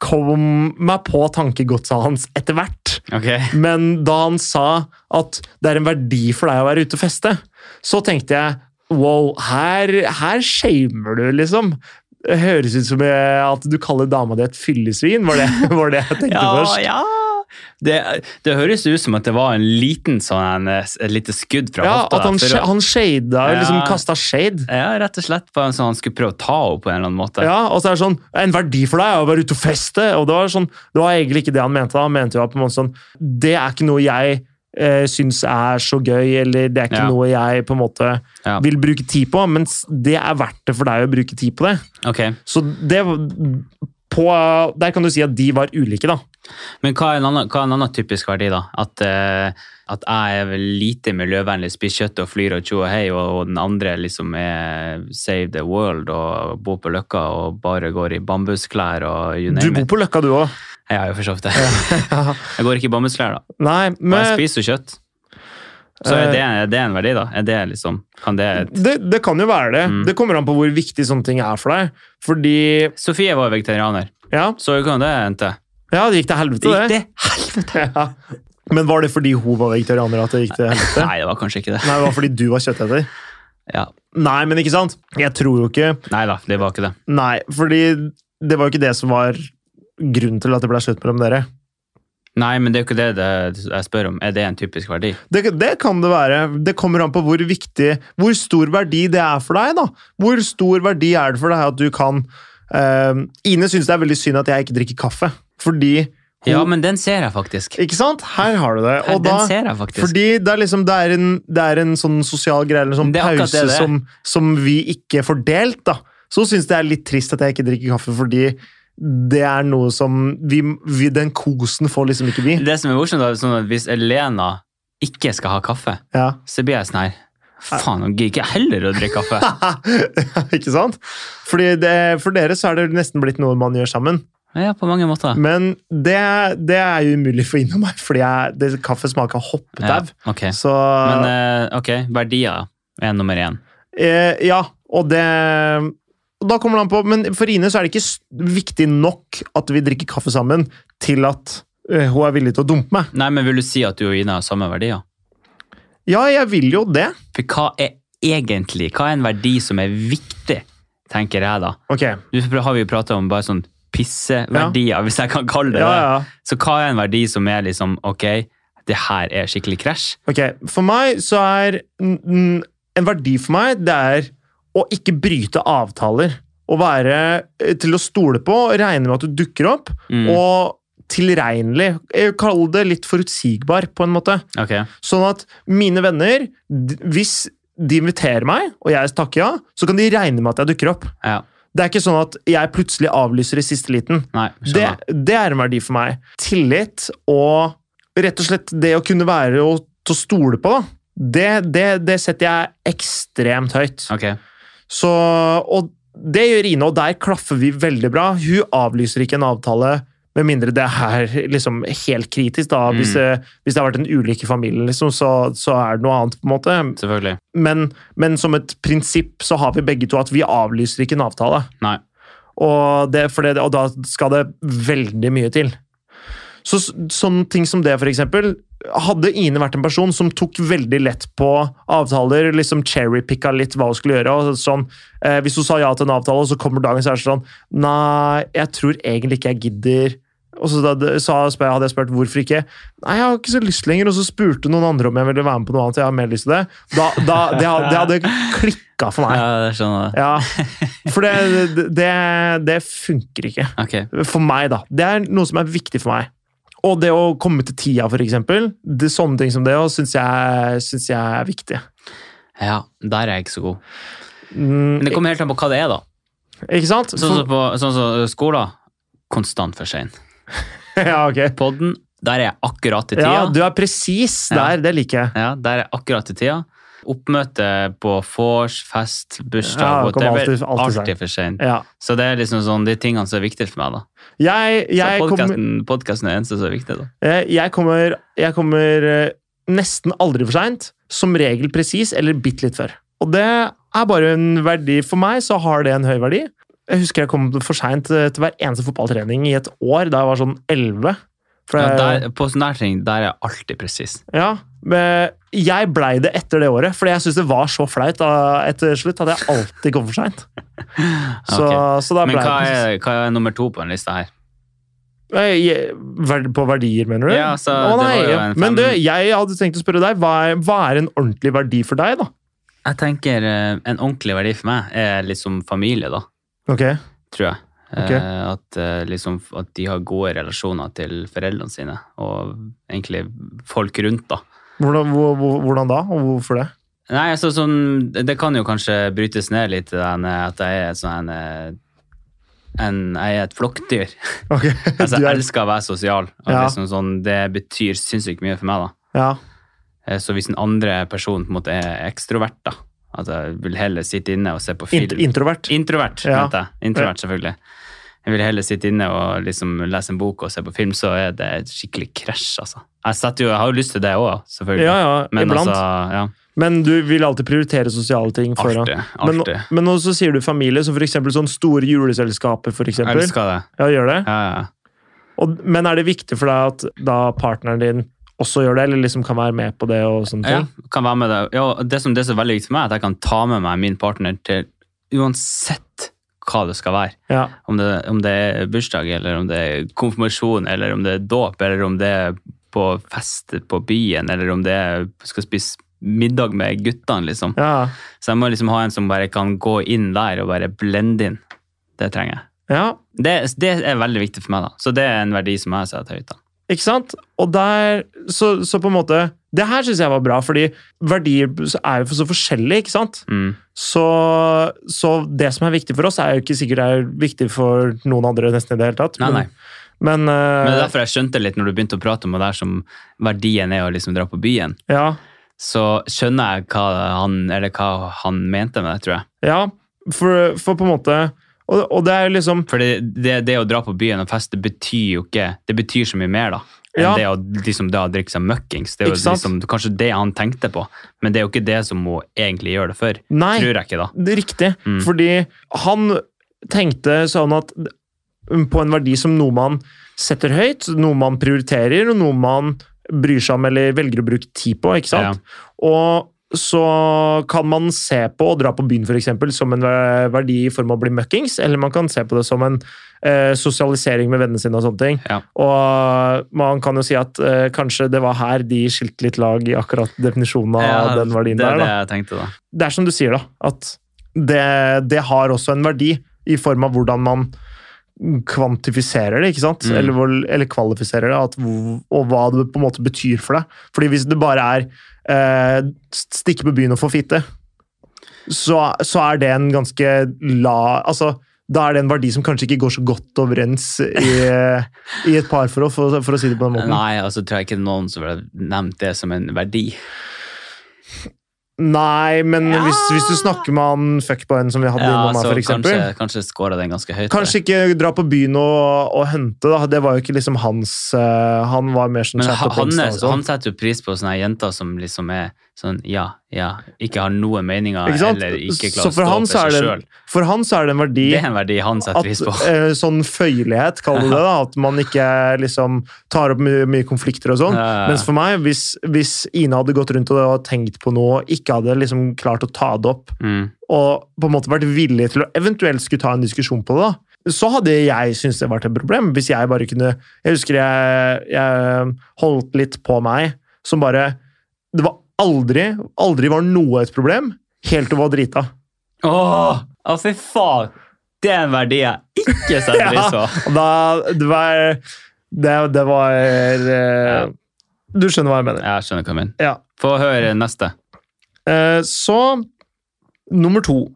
[SPEAKER 1] kom meg på tankegodset hans etter hvert.
[SPEAKER 2] Ok.
[SPEAKER 1] Men da han sa at det er en verdi for deg å være ute og feste, så tenkte jeg wow, her, her shamer du, liksom. [laughs] Høres ut som eh, at du kaller dama di et fyllesvin, var det, var det jeg tenkte først.
[SPEAKER 2] [laughs] ja. Det, det høres ut som at det var en liten sånn, en, et lite skudd fra
[SPEAKER 1] Ja,
[SPEAKER 2] hofta.
[SPEAKER 1] at han,
[SPEAKER 2] der,
[SPEAKER 1] sh-
[SPEAKER 2] for å-
[SPEAKER 1] han shada,
[SPEAKER 2] Ja.
[SPEAKER 1] liksom kasta shade.
[SPEAKER 2] ja, rett og slett på en sånn han skulle prøve å ta henne på en eller annen måte.
[SPEAKER 1] Ja, og så er det sånn En verdi for deg er å være ute og feste! Og det var, sånn, det var egentlig ikke det han mente. da. Han mente jo på en måte sånn Det er ikke noe jeg eh, syns er så gøy, eller det er ikke
[SPEAKER 2] Ja.
[SPEAKER 1] noe jeg på en måte
[SPEAKER 2] Ja.
[SPEAKER 1] vil bruke tid på, men s- det er verdt det for deg å bruke tid på det.
[SPEAKER 2] Ok,
[SPEAKER 1] Så det på, Der kan du si at de var ulike, da.
[SPEAKER 2] Men hva er en annen, hva er en annen typisk verdi, da? At, eh, at jeg er vel lite miljøvennlig, spiser kjøtt og flyr og tjo og hei, og, og den andre liksom er save the world og bor på Løkka og bare går i bambusklær og you
[SPEAKER 1] Du
[SPEAKER 2] name
[SPEAKER 1] bor
[SPEAKER 2] it.
[SPEAKER 1] på Løkka, du òg.
[SPEAKER 2] Jeg har jo for så vidt det. [laughs] Jeg går ikke i bambusklær, da.
[SPEAKER 1] Nei,
[SPEAKER 2] Men jeg
[SPEAKER 1] men Eh.
[SPEAKER 2] spiser jo kjøtt. Så er det, er det en verdi, da? Er det liksom Kan det
[SPEAKER 1] det, det kan jo være det. Det kommer an på hvor viktig sånne ting er for deg. Fordi
[SPEAKER 2] Sofie var vegetarianer,
[SPEAKER 1] Ja,
[SPEAKER 2] så hvordan det endte?
[SPEAKER 1] ja det gikk til helvete,
[SPEAKER 2] Gikk
[SPEAKER 1] det.
[SPEAKER 2] det helvete?
[SPEAKER 1] [laughs] Ja. Men var det fordi hun var vegetarianer at det gikk til helvete?
[SPEAKER 2] Nei, det var kanskje ikke det.
[SPEAKER 1] Nei, det var fordi du var kjøtteter.
[SPEAKER 2] Ja.
[SPEAKER 1] Nei, men ikke sant? Jeg tror jo ikke
[SPEAKER 2] Nei da, det var ikke det.
[SPEAKER 1] Nei, fordi det var jo ikke det som var grunnen til at det ble slutt mellom dere.
[SPEAKER 2] Nei, men det er jo ikke det, det jeg spør om. Er det en typisk verdi?
[SPEAKER 1] Det, det kan det være. Det kommer an på hvor viktig Hvor stor verdi det er for deg, da. Hvor stor verdi er det for deg at du kan eh, Ine syns det er veldig synd at jeg ikke drikker kaffe, fordi hun
[SPEAKER 2] Ja, men den ser jeg faktisk.
[SPEAKER 1] Ikke sant? Her har du det.
[SPEAKER 2] Her,
[SPEAKER 1] Og da,
[SPEAKER 2] den ser jeg faktisk.
[SPEAKER 1] fordi det er liksom det er, en, det er en sånn sosial greie, eller en sånn
[SPEAKER 2] Det er akkurat
[SPEAKER 1] pause
[SPEAKER 2] det det er.
[SPEAKER 1] Som, som vi ikke får delt, da. Så syns det er litt trist at jeg ikke drikker kaffe, fordi det er noe som vi, vi, Den kosen får liksom ikke vi.
[SPEAKER 2] Det som er morsomt, da, er sånn at hvis Elena ikke skal ha kaffe,
[SPEAKER 1] Ja.
[SPEAKER 2] så blir jeg sånn her Faen, hun gidder ikke heller å
[SPEAKER 1] [laughs]
[SPEAKER 2] drikke kaffe.
[SPEAKER 1] ikke sant? Fordi det, for dere så er det nesten blitt noe man gjør sammen.
[SPEAKER 2] Ja, på mange måter.
[SPEAKER 1] Men det, det er jo umulig for Ine og meg, fordi jeg, det, kaffe smaker
[SPEAKER 2] Ja,
[SPEAKER 1] hoppetau.
[SPEAKER 2] ok.
[SPEAKER 1] Så
[SPEAKER 2] Men eh, ok, verdier er nummer én.
[SPEAKER 1] Eh, ja, og det og Da kommer det an på, men for Ine så er det ikke s- viktig nok at vi drikker kaffe sammen til at eh, hun er villig til å dumpe meg.
[SPEAKER 2] Nei, men vil du si at du og Ina har samme verdier?
[SPEAKER 1] Ja, jeg vil jo det.
[SPEAKER 2] For hva er egentlig Hva er en verdi som er viktig, tenker jeg da.
[SPEAKER 1] Ok, ja,
[SPEAKER 2] Nå har vi jo prata om bare sånn pisseverdier, hvis jeg kan kalle det
[SPEAKER 1] ja,
[SPEAKER 2] det.
[SPEAKER 1] ja.
[SPEAKER 2] Så hva er en verdi som er liksom Ok, det her er skikkelig krasj.
[SPEAKER 1] Ok, For meg så er n- n- En verdi for meg, det er å ikke bryte avtaler. Å være eh, til å stole på, regne med at du dukker opp,
[SPEAKER 2] Mm.
[SPEAKER 1] og tilregnelig. Eh, Kall det litt forutsigbar, på en måte.
[SPEAKER 2] Ok.
[SPEAKER 1] Sånn at mine venner, d- hvis de inviterer meg, og jeg takker ja, så kan de regne med at jeg dukker opp.
[SPEAKER 2] Ja.
[SPEAKER 1] Det er ikke sånn at jeg plutselig avlyser i siste liten.
[SPEAKER 2] Nei,
[SPEAKER 1] Det,
[SPEAKER 2] skjønner.
[SPEAKER 1] det er en verdi for meg. Tillit og rett og slett det å kunne være og til å stole på, da. Det, det, det setter jeg ekstremt høyt.
[SPEAKER 2] Ok.
[SPEAKER 1] Så, og det gjør Ine, og der klaffer vi veldig bra. Hun avlyser ikke en avtale, med mindre det er liksom helt kritisk. da. Hvis,
[SPEAKER 2] Mm.
[SPEAKER 1] det, hvis det har vært en ulykke i familien, liksom, så, så er det noe annet. på en måte.
[SPEAKER 2] Selvfølgelig.
[SPEAKER 1] Men, men som et prinsipp så har vi begge to at vi avlyser ikke en avtale.
[SPEAKER 2] Nei.
[SPEAKER 1] Og, det, for det, og da skal det veldig mye til. Så, s- sånne ting som det, for eksempel. Hadde Ine vært en person som tok veldig lett på avtaler, liksom cherrypicka litt hva hun skulle gjøre og sånn, eh, Hvis hun sa ja til en avtale, og så kommer dagen, så er det sånn Nei, jeg tror egentlig ikke jeg gidder. Og så da, sa, spør, hadde jeg spurt hvorfor ikke. Nei, jeg har ikke så lyst lenger. Og så spurte noen andre om jeg ville være med på noe annet. Jeg har mer lyst til det. Da, da, det, had- det hadde klikka for meg.
[SPEAKER 2] Ja, det skjønner jeg. [laughs]
[SPEAKER 1] Ja, for det, det- det, det funker ikke.
[SPEAKER 2] Ok.
[SPEAKER 1] For meg, da. Det er noe som er viktig for meg. Og det å komme til tida, for eksempel. Det, sånne ting som det òg syns jeg, synes jeg er viktig.
[SPEAKER 2] Ja, der er jeg ikke så god.
[SPEAKER 1] Mm,
[SPEAKER 2] Men det kommer helt an på hva det er, da.
[SPEAKER 1] ikke sant?
[SPEAKER 2] Sånn som på sånn som skolen. Konstant for sein.
[SPEAKER 1] [laughs] ja, ok.
[SPEAKER 2] Podden, der er jeg akkurat i tida.
[SPEAKER 1] Ja, du er presis der. Det liker jeg.
[SPEAKER 2] Ja, der er akkurat i tida. Oppmøte på vors, fest,
[SPEAKER 1] Ja,
[SPEAKER 2] bursdag,
[SPEAKER 1] det kommer
[SPEAKER 2] whatever.
[SPEAKER 1] alltid- alltid
[SPEAKER 2] Alltid,
[SPEAKER 1] sent.
[SPEAKER 2] for seint.
[SPEAKER 1] Ja.
[SPEAKER 2] Så det er liksom sånn de tingene som er viktige for meg, da.
[SPEAKER 1] Jeg, jeg,
[SPEAKER 2] Så
[SPEAKER 1] kommer,
[SPEAKER 2] podcasten, podcasten er det eneste som er viktig, da.
[SPEAKER 1] eh, jeg kommer Jeg kommer eh, nesten aldri for seint. Som regel presis, eller bitte litt før. Og det er bare en verdi. For meg så har det en høy verdi. Jeg husker jeg kom for seint eh, til hver eneste fotballtrening i et år da jeg var sånn 11. For
[SPEAKER 2] Ja,
[SPEAKER 1] jeg-
[SPEAKER 2] der, på sånne her ting, der er jeg alltid presis.
[SPEAKER 1] Ja, men jeg blei det etter det året, fordi jeg syntes det var så flaut da, etter slutt at jeg alltid kom
[SPEAKER 2] [laughs]
[SPEAKER 1] for seint. Så,
[SPEAKER 2] Ok.
[SPEAKER 1] så da
[SPEAKER 2] Men
[SPEAKER 1] blei
[SPEAKER 2] hva
[SPEAKER 1] det
[SPEAKER 2] er, hva er nummer to på den lista her?
[SPEAKER 1] Nei, jeg- verd- På verdier, mener du?
[SPEAKER 2] Ja, altså,
[SPEAKER 1] Å,
[SPEAKER 2] det
[SPEAKER 1] nei,
[SPEAKER 2] var jo
[SPEAKER 1] ja.
[SPEAKER 2] en
[SPEAKER 1] Men du,
[SPEAKER 2] fem-
[SPEAKER 1] jeg hadde tenkt å spørre deg, hva er, hva er en ordentlig verdi for deg, da?
[SPEAKER 2] Jeg tenker eh, en ordentlig verdi for meg er liksom familie, da.
[SPEAKER 1] Ok,
[SPEAKER 2] tror jeg.
[SPEAKER 1] Ok.
[SPEAKER 2] Eh, at, eh, liksom, at de har gode relasjoner til foreldrene sine, og egentlig folk rundt, da.
[SPEAKER 1] Hvordan, hvor, hvor, hvordan da, og hvorfor det?
[SPEAKER 2] Nei, altså, sånn, det kan jo kanskje brytes ned litt, det der med at jeg er et sånn en, eh, en Jeg er
[SPEAKER 1] [laughs]
[SPEAKER 2] et flokkdyr.
[SPEAKER 1] Ok,
[SPEAKER 2] [laughs] Altså,
[SPEAKER 1] du
[SPEAKER 2] jeg
[SPEAKER 1] er-
[SPEAKER 2] elsker å være sosial. Og
[SPEAKER 1] Ja.
[SPEAKER 2] liksom sånn, det betyr sinnssykt mye for meg, da.
[SPEAKER 1] ja.
[SPEAKER 2] Eh, Så hvis en andre person på en måte er ekstrovert, da, at jeg vil heller sitte inne og se på film
[SPEAKER 1] Int introvert?
[SPEAKER 2] Introvert,
[SPEAKER 1] Ja.
[SPEAKER 2] mente jeg. Introvert, selvfølgelig. Jeg vil heller sitte inne og liksom lese en bok og se på film, så er det et skikkelig krasj, altså. Jeg, setter jo, jeg har jo lyst til det òg,
[SPEAKER 1] Ja,
[SPEAKER 2] selvfølgelig.
[SPEAKER 1] ja,
[SPEAKER 2] Men
[SPEAKER 1] iblant.
[SPEAKER 2] altså, ja.
[SPEAKER 1] Men du vil alltid prioritere sosiale ting foran
[SPEAKER 2] Artig.
[SPEAKER 1] men,
[SPEAKER 2] artig.
[SPEAKER 1] men også sier du familie, som for eksempel sånn store juleselskaper, for
[SPEAKER 2] Jeg
[SPEAKER 1] eksempel.
[SPEAKER 2] elsker det.
[SPEAKER 1] Ja, gjør det.
[SPEAKER 2] Ja, ja.
[SPEAKER 1] Og, men er det viktig for deg at da partneren din også gjør det, eller liksom kan være med på det og sånne
[SPEAKER 2] ja.
[SPEAKER 1] ting?
[SPEAKER 2] Kan være med deg. Ja, og det som det er så veldig viktig for meg, er at jeg kan ta med meg min partner til uansett hva det skal være.
[SPEAKER 1] Ja.
[SPEAKER 2] Om det, om det er bursdag, eller om det er konfirmasjon, eller om det er dåp, eller om det er på fest på byen, eller om det er skal spise middag med guttene, liksom.
[SPEAKER 1] Ja.
[SPEAKER 2] Så jeg må liksom ha en som bare kan gå inn der og bare blende inn. Det trenger jeg.
[SPEAKER 1] ja.
[SPEAKER 2] Det, det er veldig viktig for meg, da. Så det er en verdi som jeg setter høyt. da.
[SPEAKER 1] Ikke sant? Og der Så, så på en måte Det her syns jeg var bra, fordi verdier er jo så forskjellige, ikke sant?
[SPEAKER 2] Mm.
[SPEAKER 1] Så, så det som er viktig for oss, er jo ikke sikkert det er viktig for noen andre nesten i det hele tatt.
[SPEAKER 2] Nei, nei.
[SPEAKER 1] Men, men, eh,
[SPEAKER 2] Men det er derfor jeg skjønte litt når du begynte å prate om det der som verdien er å liksom dra på byen.
[SPEAKER 1] ja.
[SPEAKER 2] Så skjønner jeg hva han, eller hva han mente med det, tror jeg.
[SPEAKER 1] ja. For, for på en måte og, og det er jo liksom
[SPEAKER 2] For det, det, det å dra på byen og feste betyr jo ikke Det betyr så mye mer, da. Enn
[SPEAKER 1] Ja.
[SPEAKER 2] det å liksom da drikke seg møkkings. Det er
[SPEAKER 1] Ikke
[SPEAKER 2] jo
[SPEAKER 1] sant?
[SPEAKER 2] liksom, kanskje det han tenkte på, men det er jo ikke det som hun egentlig gjør det for.
[SPEAKER 1] Nei.
[SPEAKER 2] Tror jeg ikke, da.
[SPEAKER 1] Det er Riktig.
[SPEAKER 2] Mm.
[SPEAKER 1] Fordi han tenkte sånn at på en verdi som noe man setter høyt, noe man prioriterer, og noe man bryr seg om eller velger å bruke tid på, ikke sant? Og så kan man se på å dra på byen for eksempel, som en ver- verdi i form av å bli møkkings, eller man kan se på det som en eh, sosialisering med vennene sine og sånne ting.
[SPEAKER 2] Ja.
[SPEAKER 1] Og man kan jo si at eh, kanskje det var her de skilte litt lag i akkurat definisjonen av
[SPEAKER 2] Ja,
[SPEAKER 1] Ah, den verdien
[SPEAKER 2] det
[SPEAKER 1] der.
[SPEAKER 2] er
[SPEAKER 1] da
[SPEAKER 2] det jeg tenkte, da.
[SPEAKER 1] det er som du sier, da. At det, det har også en verdi i form av hvordan man kvantifiserer det, ikke sant?
[SPEAKER 2] Mm.
[SPEAKER 1] Eller, hvor- eller kvalifiserer det, at, hvor- og hva det på en måte betyr for deg. Fordi hvis det bare er eh, stikke på byen og få fitte, så, så er det en ganske la... Altså, da er det en verdi som kanskje ikke går så godt overens
[SPEAKER 2] [laughs]
[SPEAKER 1] i, i et parforhold, for, å- for å si det på den måten.
[SPEAKER 2] Nei, altså tror jeg ikke noen som ville nevnt det som en verdi.
[SPEAKER 1] Nei, men
[SPEAKER 2] Ja.
[SPEAKER 1] hvis, hvis du snakker med han fuckboyen som vi hadde
[SPEAKER 2] Ja,
[SPEAKER 1] innom her,
[SPEAKER 2] så
[SPEAKER 1] for eksempel
[SPEAKER 2] kanskje, kanskje skåra den ganske høyt.
[SPEAKER 1] Kanskje ikke dra på byen og, og hente, da. Det var jo ikke liksom hans eh, Han var mer sånn
[SPEAKER 2] Men
[SPEAKER 1] chat
[SPEAKER 2] han,
[SPEAKER 1] på
[SPEAKER 2] han,
[SPEAKER 1] Insta og sånn.
[SPEAKER 2] setter jo pris på sånne jenter som liksom er sånn ja, ja, ikke har noen meninger
[SPEAKER 1] Ikke sant?
[SPEAKER 2] eller ikke
[SPEAKER 1] Så for
[SPEAKER 2] klarer å stå
[SPEAKER 1] han
[SPEAKER 2] opp
[SPEAKER 1] så er
[SPEAKER 2] for seg
[SPEAKER 1] det-
[SPEAKER 2] sjøl.
[SPEAKER 1] For han så er det en verdi
[SPEAKER 2] Det er en verdi han setter
[SPEAKER 1] at
[SPEAKER 2] pris på.
[SPEAKER 1] eh, Sånn føyelighet, kall det det. da, At man ikke liksom tar opp mye, mye konflikter og sånn.
[SPEAKER 2] Ja, ja, ja.
[SPEAKER 1] Mens for meg, hvis, hvis Ina hadde gått rundt og tenkt på noe, ikke hadde liksom klart å ta det opp,
[SPEAKER 2] Mm.
[SPEAKER 1] og på en måte vært villig til å eventuelt skulle ta en diskusjon på det, da, så hadde jeg syntes det vært et problem. Hvis jeg bare kunne Jeg husker jeg, jeg holdt litt på meg som bare Det var aldri Aldri var noe et problem, helt til hun var drita.
[SPEAKER 2] Åh, å, fy faen! Det er en verdi jeg ikke setter
[SPEAKER 1] [laughs]
[SPEAKER 2] pris på.
[SPEAKER 1] Og da Det var Det, det var eh,
[SPEAKER 2] Ja.
[SPEAKER 1] Du skjønner hva jeg mener.
[SPEAKER 2] Jeg skjønner hva du mener.
[SPEAKER 1] Ja.
[SPEAKER 2] Få høre neste.
[SPEAKER 1] Eh, Så nummer to.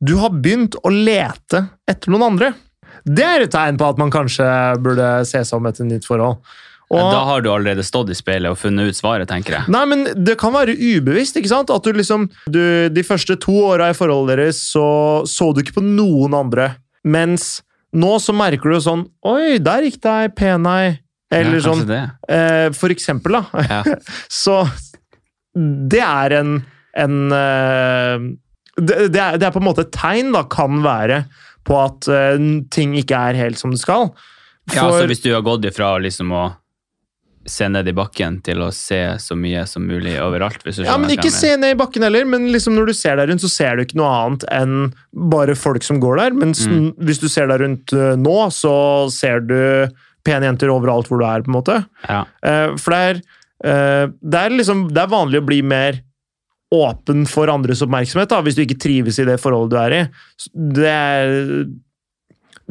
[SPEAKER 1] Du har begynt å lete etter noen andre. Det er et tegn på at man kanskje burde se seg om etter nytt forhold. Og,
[SPEAKER 2] Da har du allerede stått i speilet og funnet ut svaret, tenker jeg.
[SPEAKER 1] Nei, men Det kan være ubevisst. ikke sant? At du liksom, du, De første to åra i forholdet deres så, så du ikke på noen andre. Mens nå så merker du jo sånn Oi, der gikk det ei pen ei. Eller
[SPEAKER 2] Ja, kanskje
[SPEAKER 1] sånn.
[SPEAKER 2] det.
[SPEAKER 1] Eh, for eksempel, da.
[SPEAKER 2] Ja.
[SPEAKER 1] [laughs] Så det er en, en eh, det, det, er, det er på en måte et tegn, da, kan være, på at eh, ting ikke er helt som det skal.
[SPEAKER 2] Ja, altså
[SPEAKER 1] For,
[SPEAKER 2] hvis du har gått ifra liksom å se ned i bakken til å se så mye som mulig overalt, hvis du
[SPEAKER 1] ja, men
[SPEAKER 2] skjønner hva
[SPEAKER 1] Ikke
[SPEAKER 2] jeg mener.
[SPEAKER 1] se ned i bakken heller, men liksom når du ser deg rundt, så ser du ikke noe annet enn
[SPEAKER 2] Mm.
[SPEAKER 1] bare folk som går der. Mens n- hvis du ser deg rundt eh, nå, så ser du pene jenter overalt hvor du er, på en måte.
[SPEAKER 2] Ja.
[SPEAKER 1] Eh, for det er, eh, det er liksom Det er vanlig å bli mer åpen for andres oppmerksomhet da, hvis du ikke trives i det forholdet du er i. S- Det er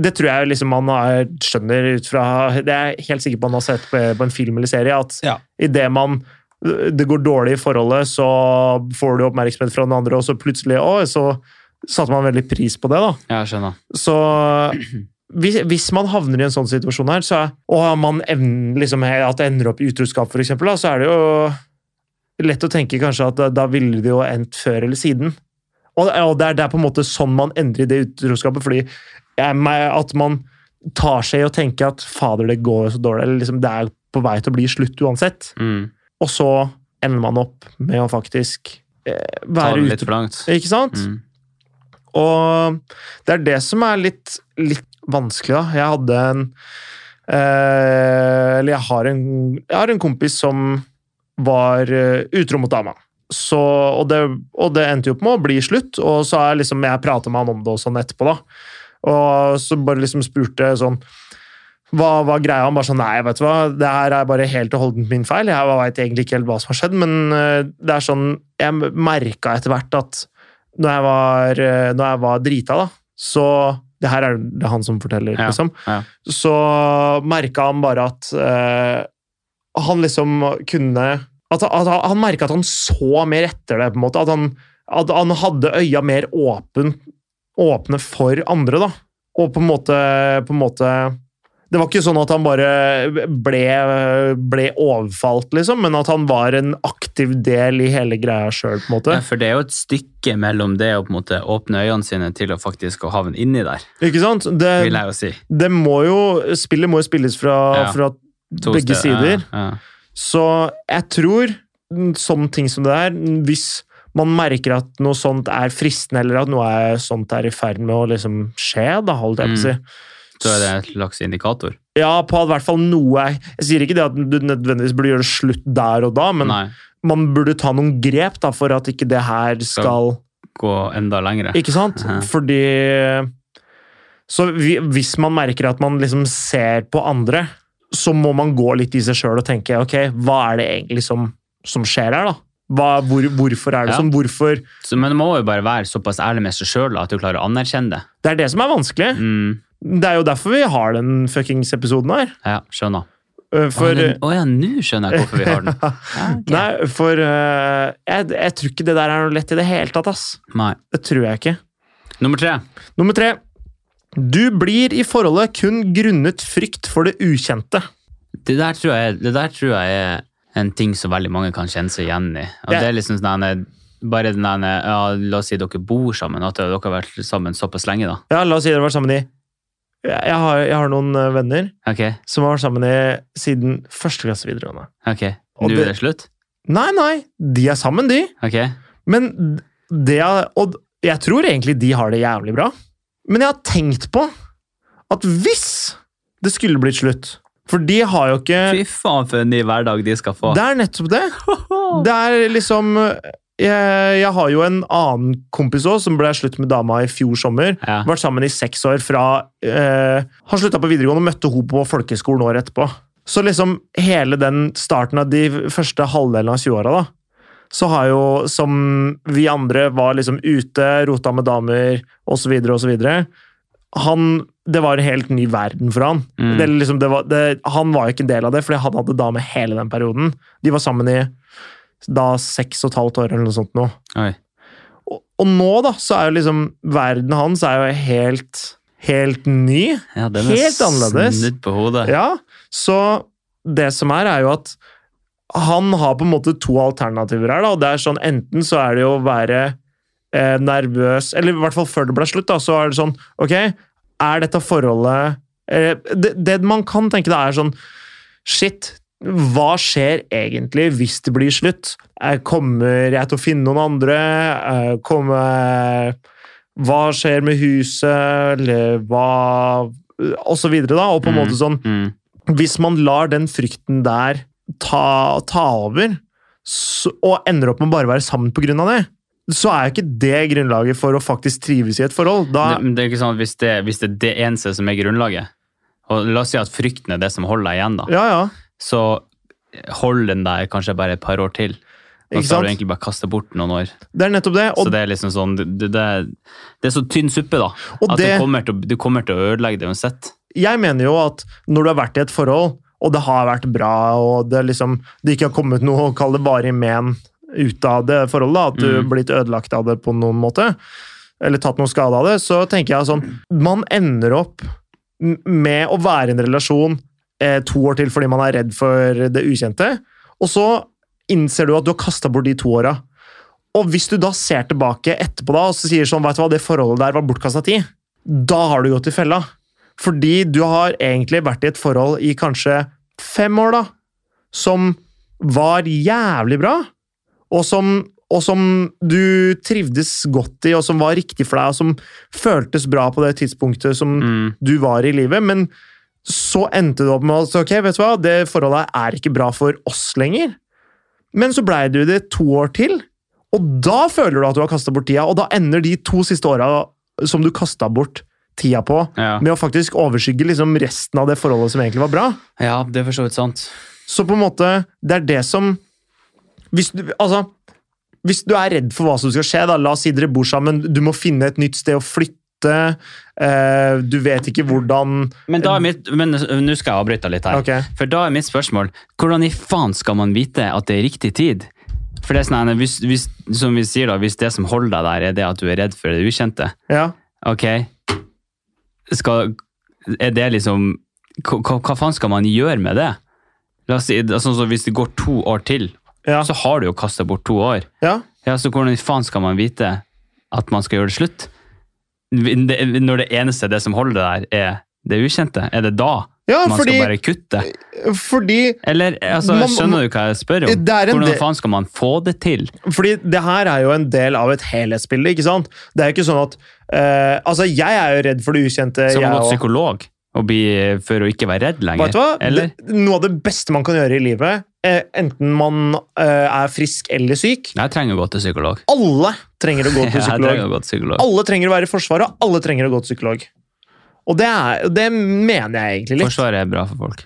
[SPEAKER 1] det tror jeg liksom man er, skjønner ut fra Det er jeg helt sikker på man har sett på, på en film eller serie. At
[SPEAKER 3] Ja.
[SPEAKER 1] idet man det går dårlig i forholdet, så får du oppmerksomhet fra den andre, og så plutselig å, så satte man veldig pris på det. da.
[SPEAKER 2] ja, jeg skjønner.
[SPEAKER 1] Så hvis, hvis man havner i en sånn situasjon her, så, er- og man evner liksom at det ender opp i utroskap, for eksempel, da, så er det jo lett å tenke kanskje at da, da ville det jo endt før eller siden. Og, og det, er, det er på en måte sånn man endrer det utroskapet, fordi jeg, meg- at man tar seg i å tenke at fader, det går jo så dårlig, eller liksom, det er på vei til å bli slutt uansett.
[SPEAKER 2] Mm.
[SPEAKER 1] Og så ender man opp med å faktisk eh,
[SPEAKER 2] Ta
[SPEAKER 1] være
[SPEAKER 2] det litt
[SPEAKER 1] ute.
[SPEAKER 2] for langt.
[SPEAKER 1] Ikke sant?
[SPEAKER 2] Mm.
[SPEAKER 1] Og det er det som er litt, litt vanskelig, da. Jeg hadde en eh, Eller jeg har en, jeg har en kompis som var eh, utro mot dama. Så, og, det, og det endte jo opp med å bli slutt, og så har jeg liksom, jeg prata med han om det og sånn etterpå. da. Og så bare liksom spurte jeg sånn hva var greia? Han bare sånn Nei, vet du hva, det her er bare helt og holdent min feil. Jeg veit egentlig ikke helt hva som har skjedd, men eh, det er sånn Jeg merka etter hvert at når jeg var, eh, når jeg var drita, da, så Det her er det han som forteller,
[SPEAKER 2] Ja,
[SPEAKER 1] liksom.
[SPEAKER 2] ja.
[SPEAKER 1] Så merka han bare at eh, han liksom kunne At, at han, han merka at han så mer etter det, på en måte. At han, at han hadde øya mer åpen, åpne for andre, da. Og på en måte, på en måte Det var ikke sånn at han bare ble, ble overfalt, liksom, men at han var en aktiv del i hele greia sjøl, på en måte.
[SPEAKER 2] Ja, for det er jo et stykke mellom det å på en måte åpne øynene sine til å faktisk å havne inni der,
[SPEAKER 1] Ikke sant? Det,
[SPEAKER 2] vil jeg jo si.
[SPEAKER 1] det må jo, spillet må jo spilles fra,
[SPEAKER 2] Ja.
[SPEAKER 1] fra
[SPEAKER 2] To
[SPEAKER 1] begge
[SPEAKER 2] steder.
[SPEAKER 1] sider.
[SPEAKER 2] Ja, ja.
[SPEAKER 1] Så jeg tror mm, sånne ting som det der, mm, hvis man merker at noe sånt er fristende, eller at noe er, sånt er i ferd med å liksom skje, da holdt jeg på å
[SPEAKER 2] Mm.
[SPEAKER 1] si.
[SPEAKER 2] Så er det en slags indikator.
[SPEAKER 1] Ja, på at i hvert fall noe Jeg sier ikke det at du nødvendigvis burde gjøre det slutt der og da, men
[SPEAKER 2] Nei,
[SPEAKER 1] man burde ta noen grep da, for at ikke det her skal
[SPEAKER 2] gå enda lengre.
[SPEAKER 1] Ikke sant?
[SPEAKER 2] Ja.
[SPEAKER 1] Fordi Så vi, hvis man merker at man liksom ser på andre, så må man gå litt i seg sjøl og tenke ok, hva er det egentlig som, som skjer her, da? Hva, hvor, hvorfor er det
[SPEAKER 2] Ja.
[SPEAKER 1] sånn? Hvorfor
[SPEAKER 2] Så, men du må jo bare være såpass ærlig med seg sjøl at du klarer å anerkjenne det.
[SPEAKER 1] Det er det som er vanskelig.
[SPEAKER 2] Mm,
[SPEAKER 1] Det er jo derfor vi har den fuckings episoden her.
[SPEAKER 2] ja, skjønner.
[SPEAKER 1] Uh,
[SPEAKER 2] Å
[SPEAKER 1] For
[SPEAKER 2] ja, den- å ja, nå skjønner jeg hvorfor vi
[SPEAKER 1] [laughs]
[SPEAKER 2] har den. Ja, ok.
[SPEAKER 1] Nei, for uh, jeg, jeg tror ikke det der er noe lett i det hele tatt, ass.
[SPEAKER 2] Nei.
[SPEAKER 1] Det tror jeg ikke.
[SPEAKER 2] Nummer tre.
[SPEAKER 1] Nummer tre. Du blir i forholdet kun grunnet frykt for det ukjente.
[SPEAKER 2] Det der tror jeg, det der tror jeg er en ting som veldig mange kan kjenne seg igjen i. Og
[SPEAKER 1] Det-
[SPEAKER 2] det er liksom sånn denne- bare den denne, ja, la oss si dere bor sammen, at dere har vært sammen såpass lenge da.
[SPEAKER 1] Ja, la oss si dere har vært sammen i jeg har, jeg har noen eh, venner
[SPEAKER 2] Ok,
[SPEAKER 1] som har vært sammen i siden første klasse videregående.
[SPEAKER 2] ok.
[SPEAKER 1] Og
[SPEAKER 2] Nå
[SPEAKER 1] det-
[SPEAKER 2] er det slutt?
[SPEAKER 1] Nei, nei, de er sammen, de.
[SPEAKER 2] Ok.
[SPEAKER 1] Men det er, Og jeg tror egentlig de har det jævlig bra. Men jeg har tenkt på at hvis det skulle blitt slutt For de har jo ikke
[SPEAKER 2] Fy faen for en ny hverdag de skal få.
[SPEAKER 1] Det er nettopp det. Det er liksom Jeg, jeg har jo en annen kompis òg som ble slutt med dama i fjor sommer.
[SPEAKER 2] Ja.
[SPEAKER 1] Vært sammen i seks år fra eh, Han slutta på videregående og møtte henne på folkeskolen året etterpå. Så liksom hele den starten av de første halvdelen av 20-åra, da, så har jo som vi andre var liksom ute, rota med damer osv., osv. Han Det var en helt ny verden for han.
[SPEAKER 2] Mm.
[SPEAKER 1] Det, liksom, det var, det, han var jo ikke en del av det, fordi han hadde dame hele den perioden. De var sammen i da seks og et halvt år eller noe sånt nå.
[SPEAKER 2] Oi.
[SPEAKER 1] Og, og nå, da, så er jo liksom verden hans er jo helt, helt ny.
[SPEAKER 2] Ja, den er
[SPEAKER 1] Helt annerledes.
[SPEAKER 2] Snudd på hodet.
[SPEAKER 1] Ja, så det som er, er jo at han har på en måte to alternativer her, da. og Det er sånn, enten så er det jo å være eh, nervøs, eller i hvert fall før det ble slutt, da, så er det sånn, ok, er dette forholdet eh, det, det man kan tenke da er sånn, shit, hva skjer egentlig hvis det blir slutt? Eh, Kommer jeg til å finne noen andre? Eh, Kommer Hva skjer med huset? Eller hva Og så videre, da. Og på en
[SPEAKER 2] Mm.
[SPEAKER 1] måte sånn
[SPEAKER 2] Mm.
[SPEAKER 1] hvis man lar den frykten der ta, ta over, så, og ender opp med å bare være sammen pga. det, så er jo ikke det grunnlaget for å faktisk trives i et forhold. Da,
[SPEAKER 2] Det, men det er ikke sånn at hvis det, hvis det er det eneste som er grunnlaget, Og la oss si at frykten er det som holder deg igjen, da.
[SPEAKER 1] Ja, ja.
[SPEAKER 2] Så holder den deg kanskje bare et par år til. Og
[SPEAKER 1] Ikke
[SPEAKER 2] så har du
[SPEAKER 1] sant?
[SPEAKER 2] egentlig bare kasta bort noen år.
[SPEAKER 1] Det er nettopp det.
[SPEAKER 2] så
[SPEAKER 1] Og,
[SPEAKER 2] det er liksom sånn Det, det, det er så tynn suppe, da.
[SPEAKER 1] Og
[SPEAKER 2] At det,
[SPEAKER 1] det-
[SPEAKER 2] kommer til, å- du kommer til å ødelegge det uansett.
[SPEAKER 1] jeg mener jo at når du har vært i et forhold, og det har vært bra, og det, er liksom, det ikke har kommet noe å kalle det varig men ut av det forholdet, da, at du har
[SPEAKER 2] Mm.
[SPEAKER 1] blitt ødelagt av det på noen måte, eller tatt noen skade av det, så tenker jeg sånn Man ender opp m- med å være i en relasjon eh, to år til fordi man er redd for det ukjente, og så innser du at du har kasta bort de to åra. Og hvis du da ser tilbake etterpå da, og så sier sånn, vet du hva, det forholdet der var bortkasta tid, da har du gått i fella. Fordi du har egentlig vært i et forhold i kanskje fem år, da, som var jævlig bra, og som, og som du trivdes godt i, og som var riktig for deg, og som føltes bra på det tidspunktet som
[SPEAKER 2] Mm.
[SPEAKER 1] du var i livet, men så endte det opp med at ok, vet du hva, det forholdet her er ikke bra for oss lenger. Men så blei du i det to år til, og da føler du at du har kasta bort tida, og da ender de to siste åra som du kasta bort tida på,
[SPEAKER 2] Ja.
[SPEAKER 1] med å faktisk overskygge liksom resten av det forholdet som egentlig var bra.
[SPEAKER 2] ja, det er for så vidt sant.
[SPEAKER 1] Så på en måte, det er det som Hvis du, altså, hvis du er redd for hva som skal skje, da, la oss si dere bor sammen, du må finne et nytt sted å flytte, eh, du vet ikke hvordan
[SPEAKER 2] Men da er mitt Men nå skal jeg avbryte litt her.
[SPEAKER 1] Eh, Ok.
[SPEAKER 2] For da er mitt spørsmål hvordan i faen skal man vite at det er riktig tid? For det er sånn, nei, hvis, hvis, som vi sier da, hvis det som holder deg der, er det at du er redd for det ukjente,
[SPEAKER 1] Ja.
[SPEAKER 2] ok, skal, er det liksom, hva, hva- hva faen skal man gjøre med det? La oss si, altså, så hvis det går to år til,
[SPEAKER 1] Ja.
[SPEAKER 2] så har du jo kastet bort to år.
[SPEAKER 1] ja.
[SPEAKER 2] Ja, så hvordan i faen skal man vite at man skal gjøre det slutt? Det- Når det eneste det som holder deg der, er det ukjente, er det da
[SPEAKER 1] ja
[SPEAKER 2] man
[SPEAKER 1] fordi,
[SPEAKER 2] skal bare kutte?
[SPEAKER 1] fordi,
[SPEAKER 2] Eller, altså,
[SPEAKER 1] Man-
[SPEAKER 2] skjønner du hva jeg spør om?
[SPEAKER 1] Det er en del-
[SPEAKER 2] Hvordan faen skal man få det til?
[SPEAKER 1] fordi det her er jo en del av et helhetsbilde, ikke sant? Det er jo ikke sånn at eh, Altså, jeg er jo redd for det ukjente. jeg
[SPEAKER 2] Skal man gå
[SPEAKER 1] også.
[SPEAKER 2] til psykolog og bli, for å ikke være redd lenger?
[SPEAKER 1] Vet du hva?
[SPEAKER 2] Eller?
[SPEAKER 1] Det, noe av det beste man kan gjøre i livet, eh, enten man eh, er frisk eller syk
[SPEAKER 2] Jeg trenger å gå til psykolog.
[SPEAKER 1] Alle trenger å
[SPEAKER 2] [laughs]
[SPEAKER 1] gå til
[SPEAKER 2] Jeg
[SPEAKER 1] psykolog.
[SPEAKER 2] trenger å gå til psykolog.
[SPEAKER 1] Alle trenger å være i Forsvaret, og alle trenger å gå til psykolog. Og det, er, det mener jeg egentlig litt.
[SPEAKER 2] Forsvaret er bra for folk.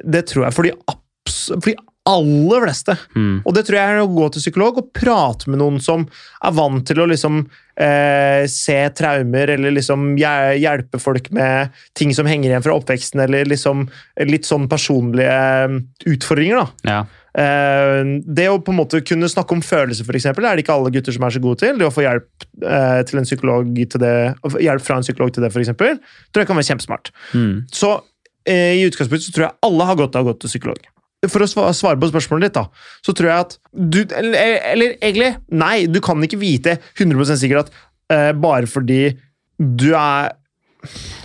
[SPEAKER 1] Det tror jeg. For de, abs for de aller fleste.
[SPEAKER 2] Hmm.
[SPEAKER 1] Og det tror jeg er å gå til psykolog og prate med noen som er vant til å liksom eh, se traumer, eller liksom hje- hjelpe folk med ting som henger igjen fra oppveksten, eller liksom litt sånn personlige eh, utfordringer, da.
[SPEAKER 2] Ja.
[SPEAKER 1] Eh, det å på en måte kunne snakke om følelser, f.eks., er det ikke alle gutter som er så gode til. Det å få hjelp, eh, til en psykolog til det, å få hjelp fra en psykolog til det, f.eks., tror jeg kan være kjempesmart.
[SPEAKER 2] Hmm.
[SPEAKER 1] Så eh, i utgangspunktet så tror jeg alle har godt av å gå til psykolog. For å sva- svare på spørsmålet ditt, da, så tror jeg at du Eller, eller egentlig, nei, du kan ikke vite 100 sikkert at eh, bare fordi du er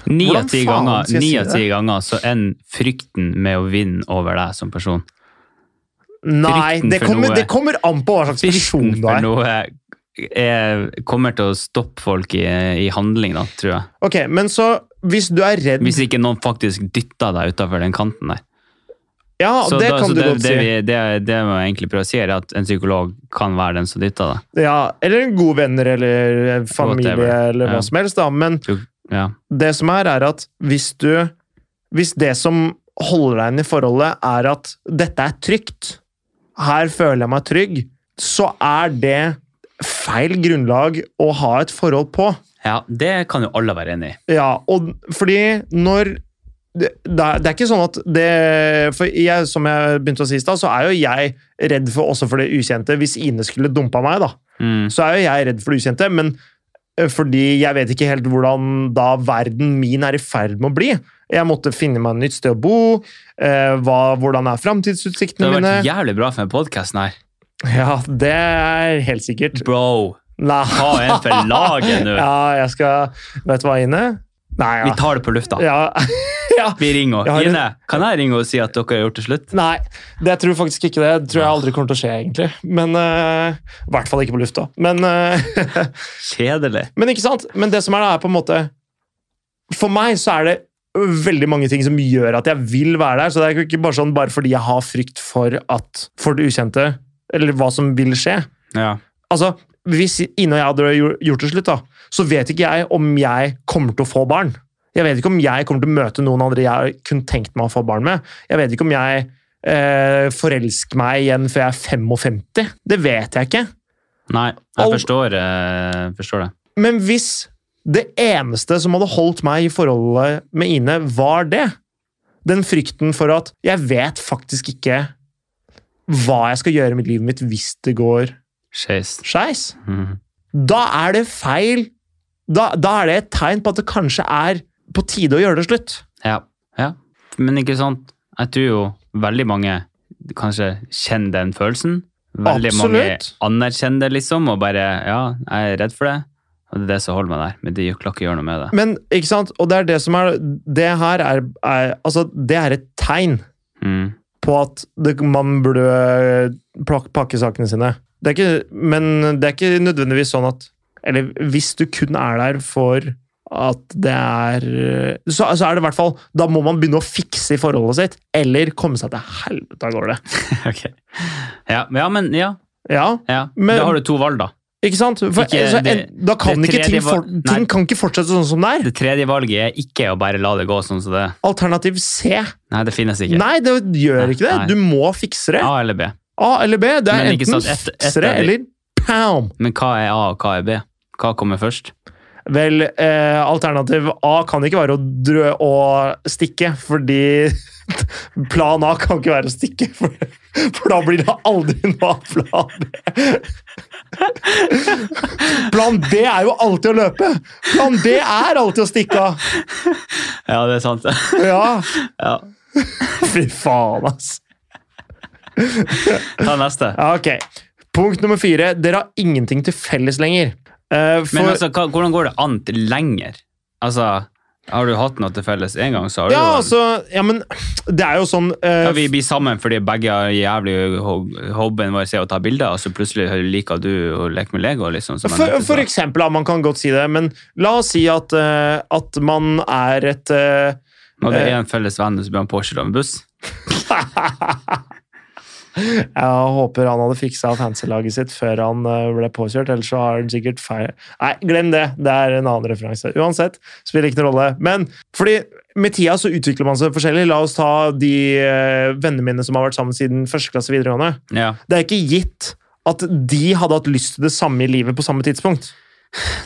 [SPEAKER 2] Ni
[SPEAKER 1] Hvordan
[SPEAKER 2] av ti
[SPEAKER 1] faen
[SPEAKER 2] ganger,
[SPEAKER 1] skal jeg
[SPEAKER 2] ni
[SPEAKER 1] si
[SPEAKER 2] av ti ganger så ender frykten med å vinne over deg som person.
[SPEAKER 1] Nei,
[SPEAKER 2] Frykten
[SPEAKER 1] det
[SPEAKER 2] for
[SPEAKER 1] kommer,
[SPEAKER 2] noe.
[SPEAKER 1] det kommer an på hva slags person
[SPEAKER 2] Frykten
[SPEAKER 1] du
[SPEAKER 2] for
[SPEAKER 1] er.
[SPEAKER 2] noe er, kommer til å stoppe folk i, i handling, da, tror jeg.
[SPEAKER 1] Ok, Men så, hvis du er redd
[SPEAKER 2] Hvis ikke noen faktisk dytter deg utafor den kanten der.
[SPEAKER 1] Ja,
[SPEAKER 2] Så
[SPEAKER 1] det
[SPEAKER 2] da-
[SPEAKER 1] kan
[SPEAKER 2] så
[SPEAKER 1] du
[SPEAKER 2] det,
[SPEAKER 1] godt
[SPEAKER 2] det,
[SPEAKER 1] si.
[SPEAKER 2] vi, det, det må jeg egentlig prøve å si, er at en psykolog kan være den som dytter deg.
[SPEAKER 1] Ja, eller gode venner eller familie
[SPEAKER 2] Whatever.
[SPEAKER 1] eller hva
[SPEAKER 2] Ja.
[SPEAKER 1] som helst, da. Men
[SPEAKER 2] Ja.
[SPEAKER 1] det som er, er at hvis du Hvis det som holder deg inne i forholdet, er at dette er trygt, her føler jeg meg trygg, så er det feil grunnlag å ha et forhold på.
[SPEAKER 2] ja, det kan jo alle være enig i.
[SPEAKER 1] Ja, og fordi når det, det er det er ikke sånn at det For jeg, som jeg begynte å si i stad, så er jo jeg redd for også for det ukjente. Hvis Ine skulle dumpa meg, da.
[SPEAKER 2] Mm.
[SPEAKER 1] så er jo jeg redd for det ukjente, men eh, fordi jeg vet ikke helt hvordan da verden min er i ferd med å bli. Jeg måtte finne meg et nytt sted å bo. Eh, hva, hvordan er
[SPEAKER 2] Det
[SPEAKER 1] framtidsutsiktene
[SPEAKER 2] har
[SPEAKER 1] mine?
[SPEAKER 2] vært jævlig bra for den podkasten her.
[SPEAKER 1] Ja, det er helt sikkert.
[SPEAKER 2] Bro,
[SPEAKER 1] Nei.
[SPEAKER 2] ta en
[SPEAKER 1] [laughs]
[SPEAKER 2] for laget nå!
[SPEAKER 1] Ja, jeg skal Vet du hva, Ine? Nei, ja.
[SPEAKER 2] Vi tar det på lufta.
[SPEAKER 1] ja. [laughs] ja.
[SPEAKER 2] Vi ringer
[SPEAKER 1] Jeg har
[SPEAKER 2] henne.
[SPEAKER 1] en-
[SPEAKER 2] Ine, kan jeg ringe og si at dere har gjort det slutt?
[SPEAKER 1] Nei, det tror jeg faktisk ikke det. Det tror jeg aldri kommer til å skje, egentlig. Men eh, I hvert fall ikke på lufta. Men eh, [laughs]
[SPEAKER 2] Kjedelig.
[SPEAKER 1] Men ikke sant? Men det som er da, er på en måte For meg så er det veldig mange ting som gjør at jeg vil være der. Så det er jo ikke bare sånn bare fordi jeg har frykt for at for det ukjente, eller hva som vil skje.
[SPEAKER 2] Ja.
[SPEAKER 1] Altså, Hvis Ine og jeg hadde gjort det slutt, da, så vet ikke jeg om jeg kommer til å få barn. Jeg vet ikke om jeg kommer til å møte noen andre jeg kunne tenkt meg å få barn med. Jeg vet ikke om jeg eh, forelsker meg igjen før jeg er 55. Det vet jeg ikke.
[SPEAKER 2] Nei,
[SPEAKER 1] Al-
[SPEAKER 2] jeg forstår, eh, forstår det.
[SPEAKER 1] Men hvis det eneste som hadde holdt meg i forholdet med Ine, var det Den frykten for at jeg vet faktisk ikke hva jeg skal gjøre med livet mitt hvis det går
[SPEAKER 2] Skeis.
[SPEAKER 1] skeis.
[SPEAKER 2] Mhm.
[SPEAKER 1] Da er det feil. Da, da er det et tegn på at det kanskje er på tide å gjøre det slutt.
[SPEAKER 2] Ja. ja. Men ikke sant, jeg tror jo veldig mange kanskje kjenner den følelsen. Veldig
[SPEAKER 1] Absolutt.
[SPEAKER 2] mange anerkjenner det, liksom, og bare Ja, jeg er redd for det, og det er det som holder meg der. Men det klarer ikke å gjøre noe med det.
[SPEAKER 1] Men, ikke sant? Og det er det som er Det her er, er Altså, det er et tegn
[SPEAKER 2] Mm.
[SPEAKER 1] på at det, man burde eh, plak- pakke sakene sine. Det er ikke, men det er ikke nødvendigvis sånn at Eller hvis du kun er der for at det er eh, Så, så er det i hvert fall Da må man begynne å fikse i forholdet sitt, eller komme seg til helvete av gårde.
[SPEAKER 2] [laughs] ok. Ja, men- ja, men ja.
[SPEAKER 1] Ja,
[SPEAKER 2] ja.
[SPEAKER 1] Men-
[SPEAKER 2] da har du to valg, da.
[SPEAKER 1] ikke sant? For,
[SPEAKER 2] Ikke
[SPEAKER 1] så,
[SPEAKER 2] det-
[SPEAKER 1] en, da kan
[SPEAKER 2] det
[SPEAKER 1] ikke ting,
[SPEAKER 2] tredje var-
[SPEAKER 1] for,
[SPEAKER 2] nei.
[SPEAKER 1] ting kan ikke fortsette sånn som det er.
[SPEAKER 2] Det tredje valget er ikke å bare la det gå sånn som det er.
[SPEAKER 1] Alternativ C.
[SPEAKER 2] Nei, det finnes ikke.
[SPEAKER 1] Nei, det gjør
[SPEAKER 2] Nei,
[SPEAKER 1] ikke det.
[SPEAKER 2] nei.
[SPEAKER 1] Du må fikse det.
[SPEAKER 2] A eller B.
[SPEAKER 1] A eller B. Det er
[SPEAKER 2] Men ikke
[SPEAKER 1] enten
[SPEAKER 2] sant, et- et
[SPEAKER 1] fikse det
[SPEAKER 2] av de-
[SPEAKER 1] eller pow.
[SPEAKER 2] Men hva er A, og hva er B? Hva kommer først?
[SPEAKER 1] Vel, eh, alternativ A kan ikke være å, drø å stikke, fordi [laughs] plan A kan ikke være å stikke, for, for da blir det aldri noe av plan B. Plan B er jo alltid å løpe! Plan B er alltid å stikke av!
[SPEAKER 2] Ja, det er sant. [laughs]
[SPEAKER 1] Ja,
[SPEAKER 2] ja.
[SPEAKER 1] fy faen, ass.
[SPEAKER 2] Ta neste.
[SPEAKER 1] Ja, ok. Punkt nummer fire. Dere har ingenting til felles lenger. Eh, for,
[SPEAKER 2] Men altså, hva, hvordan går det an til lenger? Altså, har du hatt noe til felles en gang, så har du
[SPEAKER 1] ja,
[SPEAKER 2] jo-
[SPEAKER 1] altså, ja, men det er jo sånn eh,
[SPEAKER 2] ja, vi blir sammen fordi begge har jævlig ho- hobbyen vår er å ta bilder, og så plutselig liker du å leke med Lego, liksom. som jeg
[SPEAKER 1] For,
[SPEAKER 2] nevnte,
[SPEAKER 1] for
[SPEAKER 2] så-
[SPEAKER 1] eksempel, ja, man kan godt si det, men la oss si at, eh, at man er et eh,
[SPEAKER 2] Når det er en felles venn, og så blir han påkjørt av en buss.
[SPEAKER 1] Jeg håper han hadde fiksa fancy-laget sitt før han eh, ble påkjørt, ellers så har han sikkert feil Nei, glem det! Det er en annen referanse. Uansett, spiller ikke noen rolle. Men fordi med tida så utvikler man seg forskjellig. La oss ta de eh, vennene mine som har vært sammen siden første klasse videregående.
[SPEAKER 2] Ja.
[SPEAKER 1] Det er ikke gitt at de hadde hatt lyst til det samme i livet på samme tidspunkt.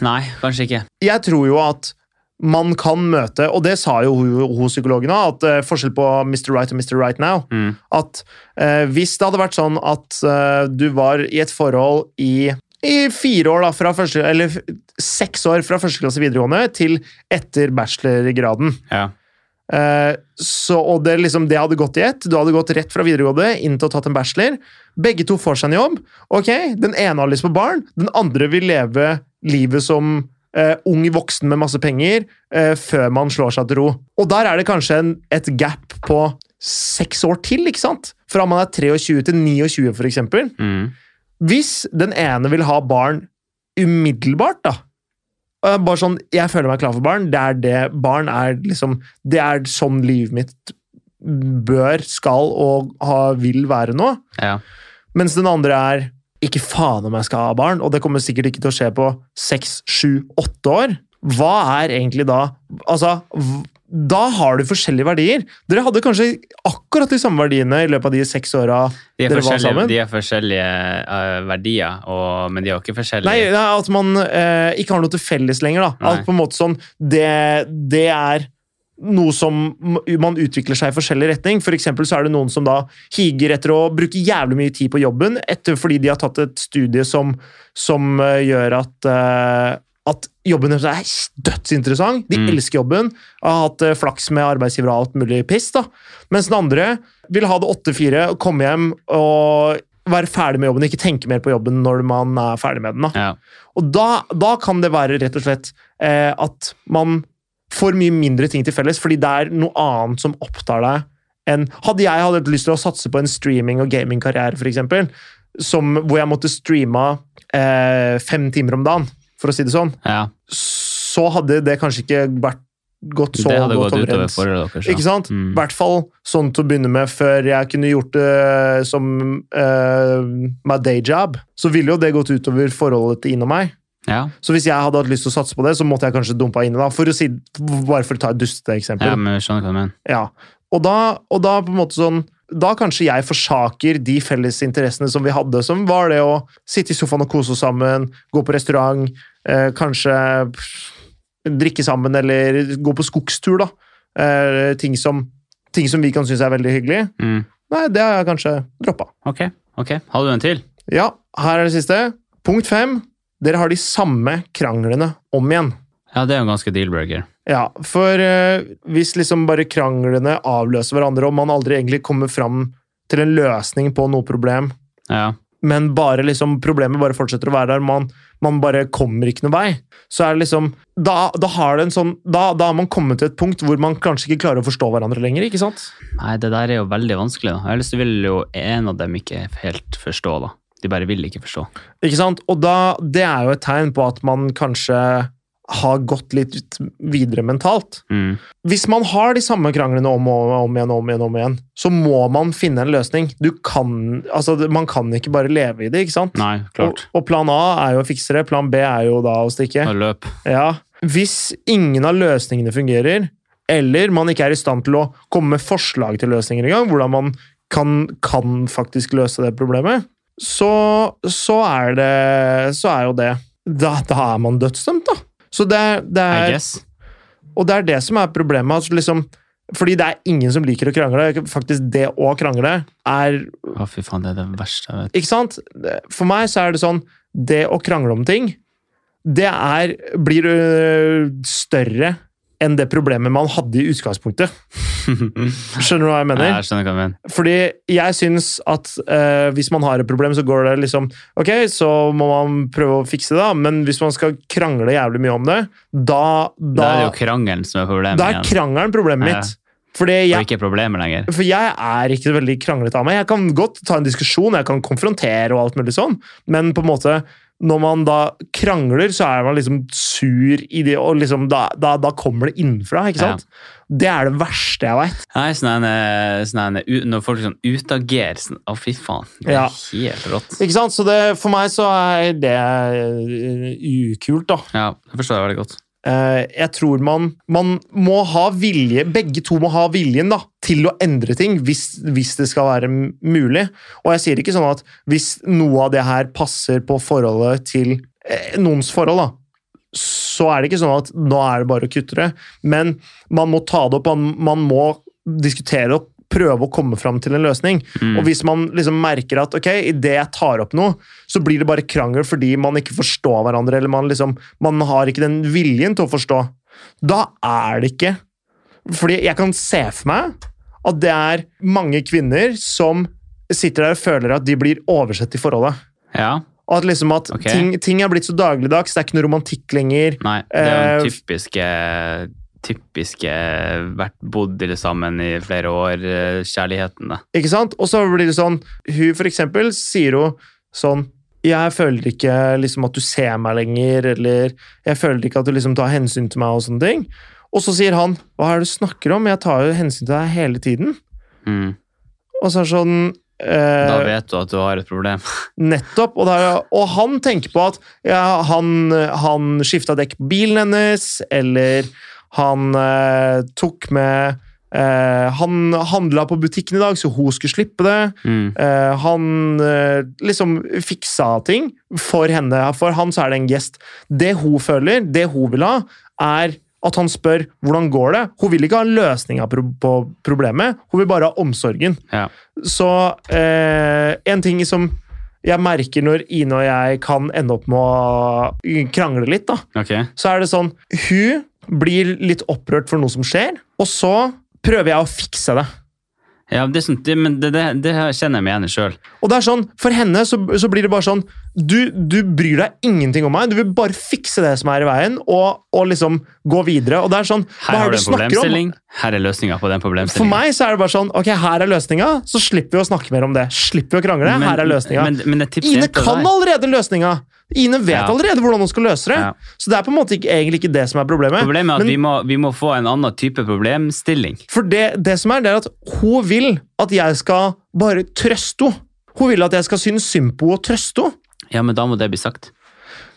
[SPEAKER 2] Nei, kanskje ikke.
[SPEAKER 1] jeg tror jo at man kan møte, og det sa jo hun, hun psykologen òg, at eh, forskjell på Mr. Right og Mr. Right Now
[SPEAKER 2] Mm.
[SPEAKER 1] At eh, hvis det hadde vært sånn at eh, du var i et forhold i, i fire år, da, fra første, eller f- seks år fra første klasse videregående til etter bachelorgraden
[SPEAKER 2] Ja.
[SPEAKER 1] Eh, så, og det, liksom, det hadde gått i ett. Du hadde gått rett fra videregående inn til å tatt en bachelor. Begge to får seg en jobb. Ok, Den ene har lyst på barn, den andre vil leve livet som eh, ung voksen med masse penger eh, før man slår seg til ro. Og der er det kanskje en, et gap på seks år til, ikke sant? Fra man er 23 til 29, for eksempel
[SPEAKER 2] Mm.
[SPEAKER 1] hvis den ene vil ha barn umiddelbart, da og jeg Bare sånn Jeg føler meg klar for barn. Det er det barn er liksom Det er sånn livet mitt bør, skal og ha, vil være nå.
[SPEAKER 2] Ja.
[SPEAKER 1] Mens den andre er Ikke faen om jeg skal ha barn, og det kommer sikkert ikke til å skje på seks, sju, åtte år. Hva er egentlig da Altså, v- da har du forskjellige verdier. Dere hadde kanskje akkurat de samme verdiene i løpet av de seks åra
[SPEAKER 2] De er
[SPEAKER 1] Dere var
[SPEAKER 2] forskjellige,
[SPEAKER 1] sammen?
[SPEAKER 2] de er forskjellige eh, verdier, og, men de har ikke forskjellige
[SPEAKER 1] Nei, nei, at man eh, ikke har noe til felles lenger. da.
[SPEAKER 2] Nei.
[SPEAKER 1] At på en måte sånn, det, det er noe som m- man utvikler seg i forskjellig retning. For eksempel så er det noen som da higer etter å bruke jævlig mye tid på jobben etter fordi de har tatt et studie som, som eh, gjør at, eh, at jobben deres er dødsinteressant. De
[SPEAKER 2] Mm.
[SPEAKER 1] elsker jobben, har hatt eh, flaks med arbeidsgiver og alt mulig piss. da. Mens den andre vil ha det 8-4, komme hjem og være ferdig med jobben, ikke tenke mer på jobben når man er ferdig med den. da.
[SPEAKER 2] Ja.
[SPEAKER 1] Og da, da kan det være rett og slett eh, at man får mye mindre ting til felles, fordi det er noe annet som opptar deg enn Hadde jeg hatt lyst til å satse på en streaming- og gamingkarriere, f.eks., hvor jeg måtte streama eh, fem timer om dagen, for å si det sånn,
[SPEAKER 2] ja.
[SPEAKER 1] så hadde det kanskje ikke vært gått så
[SPEAKER 2] Det hadde gått
[SPEAKER 1] godt
[SPEAKER 2] utover
[SPEAKER 1] overens.
[SPEAKER 2] forholdet deres. ja.
[SPEAKER 1] Ikke sant? I
[SPEAKER 2] Mm.
[SPEAKER 1] hvert fall sånn til å begynne med, før jeg kunne gjort det eh, som eh, my day job. Så ville jo det gått utover forholdet til Ine og meg.
[SPEAKER 2] Ja.
[SPEAKER 1] Så hvis jeg hadde hatt lyst til å satse på det, så måtte jeg kanskje dumpa inn i det. da, For å si, bare for å ta et dustete
[SPEAKER 2] ja,
[SPEAKER 1] eksempel.
[SPEAKER 2] men jeg skjønner hva du mener.
[SPEAKER 1] Ja. Og, da, og da på en måte sånn da kanskje jeg forsaker de felles interessene som vi hadde, som var det å sitte i sofaen og kose oss sammen, gå på restaurant, eh, kanskje pff, drikke sammen, eller gå på skogstur, da. Eh, ting, som, ting som vi kan synes er veldig hyggelig.
[SPEAKER 2] Mm.
[SPEAKER 1] Nei, det har jeg kanskje droppa.
[SPEAKER 2] Ok, ok. Har du en til?
[SPEAKER 1] Ja, her er det siste. Punkt fem. Dere har de samme kranglene om igjen.
[SPEAKER 2] Ja, det er jo en ganske deal-burger.
[SPEAKER 1] Ja, for eh, hvis liksom bare kranglene avløser hverandre, og man aldri egentlig kommer fram til en løsning på noe problem,
[SPEAKER 2] Ja.
[SPEAKER 1] men bare liksom problemet bare fortsetter å være der, man, man bare kommer ikke noen vei, så er det liksom Da, da har det en sånn da, da har man kommet til et punkt hvor man kanskje ikke klarer å forstå hverandre lenger, ikke sant?
[SPEAKER 2] Nei, det der er jo veldig vanskelig. da. Ellers vil jo en av dem ikke helt forstå, da. De bare vil ikke forstå.
[SPEAKER 1] Ikke sant? Og da, det er jo et tegn på at man kanskje har gått litt videre mentalt.
[SPEAKER 2] Mm.
[SPEAKER 1] hvis man har de samme kranglene om og om igjen, om igjen, om igjen, så må man finne en løsning. Du kan, altså, man kan ikke bare leve i det, ikke sant?
[SPEAKER 2] Nei, klart.
[SPEAKER 1] Og, og plan A er jo å fikse det, plan B er jo da å stikke.
[SPEAKER 2] Og løp.
[SPEAKER 1] Ja. Hvis ingen av løsningene fungerer, eller man ikke er i stand til å komme med forslag til løsninger engang, hvordan man kan, kan faktisk løse det problemet, så, så, er, det, så er jo det Da, da er man dødsdømt, da. Så det, er- det er
[SPEAKER 2] I guess.
[SPEAKER 1] og det er det som er problemet. Altså liksom, fordi det er ingen som liker å krangle. Faktisk, det å krangle er
[SPEAKER 2] Å, fy faen, det er det verste [laughs] jeg vet.
[SPEAKER 1] Ikke sant? Det- For meg så er det sånn Det å krangle om ting, det er Blir øh, større enn det problemet man hadde i utgangspunktet. Skjønner du hva jeg
[SPEAKER 2] Nei,
[SPEAKER 1] mener?
[SPEAKER 2] jeg skjønner hva du mener.
[SPEAKER 1] Fordi jeg syns at eh, hvis man har et problem, så går det liksom Ok, så må man prøve å fikse det, da, men hvis man skal krangle jævlig mye om det, da
[SPEAKER 2] Da
[SPEAKER 1] Da,
[SPEAKER 2] er det jo krangelen som er problemet
[SPEAKER 1] da er
[SPEAKER 2] igjen.
[SPEAKER 1] krangelen problemet
[SPEAKER 2] Ja.
[SPEAKER 1] mitt. Fordi
[SPEAKER 2] Det
[SPEAKER 1] jeg
[SPEAKER 2] er ikke problemet lenger.
[SPEAKER 1] For jeg er ikke veldig kranglete av meg. Jeg kan godt ta en diskusjon, jeg kan konfrontere og alt mulig sånn, men på en måte når man da krangler, så er man liksom sur i det, og liksom da, da, da kommer det innenfra, ikke sant? Det er det verste jeg veit.
[SPEAKER 2] Nei, sånn en, sånn en, u- når folk sånn utagerer sånn Å, fy faen. Det er
[SPEAKER 1] Ja.
[SPEAKER 2] helt rått.
[SPEAKER 1] Ikke sant? Så det, for meg så er det eh, ukult, da.
[SPEAKER 2] Ja, det forstår jeg veldig godt.
[SPEAKER 1] Eh, Jeg tror man, man må ha vilje, begge to må ha viljen da, til å endre ting hvis, hvis det skal være m- mulig. Og jeg sier ikke sånn at hvis noe av det her passer på forholdet til eh, noens forhold, da, så er det ikke sånn at nå er det bare å kutte det. Men man må ta det opp, man, man må diskutere og prøve å komme fram til en løsning.
[SPEAKER 2] Mm.
[SPEAKER 1] Og hvis man liksom merker at ok, idet jeg tar opp noe, så blir det bare krangel fordi man ikke forstår hverandre, eller man, liksom, man har ikke den viljen til å forstå, da er det ikke Fordi jeg kan se for meg at det er mange kvinner som sitter der og føler at de blir oversett i forholdet.
[SPEAKER 2] Ja.
[SPEAKER 1] Og at liksom at
[SPEAKER 2] Ok.
[SPEAKER 1] ting, ting er blitt så dagligdags, det er ikke noe romantikk lenger.
[SPEAKER 2] Nei, det er jo
[SPEAKER 1] Eh,
[SPEAKER 2] den typiske typiske vært bodd i det sammen i flere år, eh, kjærligheten, det.
[SPEAKER 1] Ikke sant? Og så blir det sånn Hun for eksempel sier jo sånn Jeg føler ikke liksom at du ser meg lenger, eller jeg føler ikke at du liksom tar hensyn til meg og sånne ting. Og så sier han Hva er det du snakker om? Jeg tar jo hensyn til deg hele tiden.
[SPEAKER 2] Mm.
[SPEAKER 1] Og så er det sånn
[SPEAKER 2] Da
[SPEAKER 1] eh,
[SPEAKER 2] vet du at du har et problem. [laughs]
[SPEAKER 1] Nettopp. Og, da er- og han tenker på at ja, han, han skifta dekk på bilen hennes, eller han eh, tok med eh, Han handla på butikken i dag, så hun skulle slippe det.
[SPEAKER 2] Mm.
[SPEAKER 1] Eh, han eh, liksom fiksa ting for henne. For han så er det en gest. Det hun føler, det hun vil ha, er at han spør hvordan går det. Hun vil ikke ha løsninga pro på problemet, hun vil bare ha omsorgen.
[SPEAKER 2] Ja.
[SPEAKER 1] Så eh, en ting som jeg merker når Ine og jeg kan ende opp med å krangle litt, da,
[SPEAKER 2] Ok.
[SPEAKER 1] så er det sånn Hun blir litt opprørt for noe som skjer, og så prøver jeg å fikse det.
[SPEAKER 2] Ja, det, er sånn, det, men det, det, det her kjenner jeg meg igjen i sjøl.
[SPEAKER 1] Og det er sånn, For henne så, så blir det bare sånn du, du bryr deg ingenting om meg. Du vil bare fikse det som er i veien, og, og liksom gå videre. Og det er sånn,
[SPEAKER 2] Her
[SPEAKER 1] hva
[SPEAKER 2] har
[SPEAKER 1] er
[SPEAKER 2] du
[SPEAKER 1] det
[SPEAKER 2] en
[SPEAKER 1] du snakker om?
[SPEAKER 2] problemstilling, her er løsninga på den
[SPEAKER 1] For
[SPEAKER 2] problemstillinga.
[SPEAKER 1] meg så er det bare sånn Ok, her er løsninga, så slipper vi å snakke mer om det. Slipper vi å krangle. her er løsninga.
[SPEAKER 2] Men, men et tips til
[SPEAKER 1] Ine
[SPEAKER 2] jenta
[SPEAKER 1] kan
[SPEAKER 2] der-
[SPEAKER 1] allerede løsninga! Ine vet
[SPEAKER 2] Ja.
[SPEAKER 1] allerede hvordan hun skal løse det.
[SPEAKER 2] Ja.
[SPEAKER 1] Så det er på en måte ikke, egentlig ikke det som er problemet.
[SPEAKER 2] Problemet er at
[SPEAKER 1] Men-
[SPEAKER 2] vi, må, vi må få en annen type problemstilling.
[SPEAKER 1] For det, det som er, det er at hun vil at jeg skal bare trøste henne. Hun vil at jeg skal synes synd på henne og trøste henne.
[SPEAKER 2] Ja, men da må det bli sagt.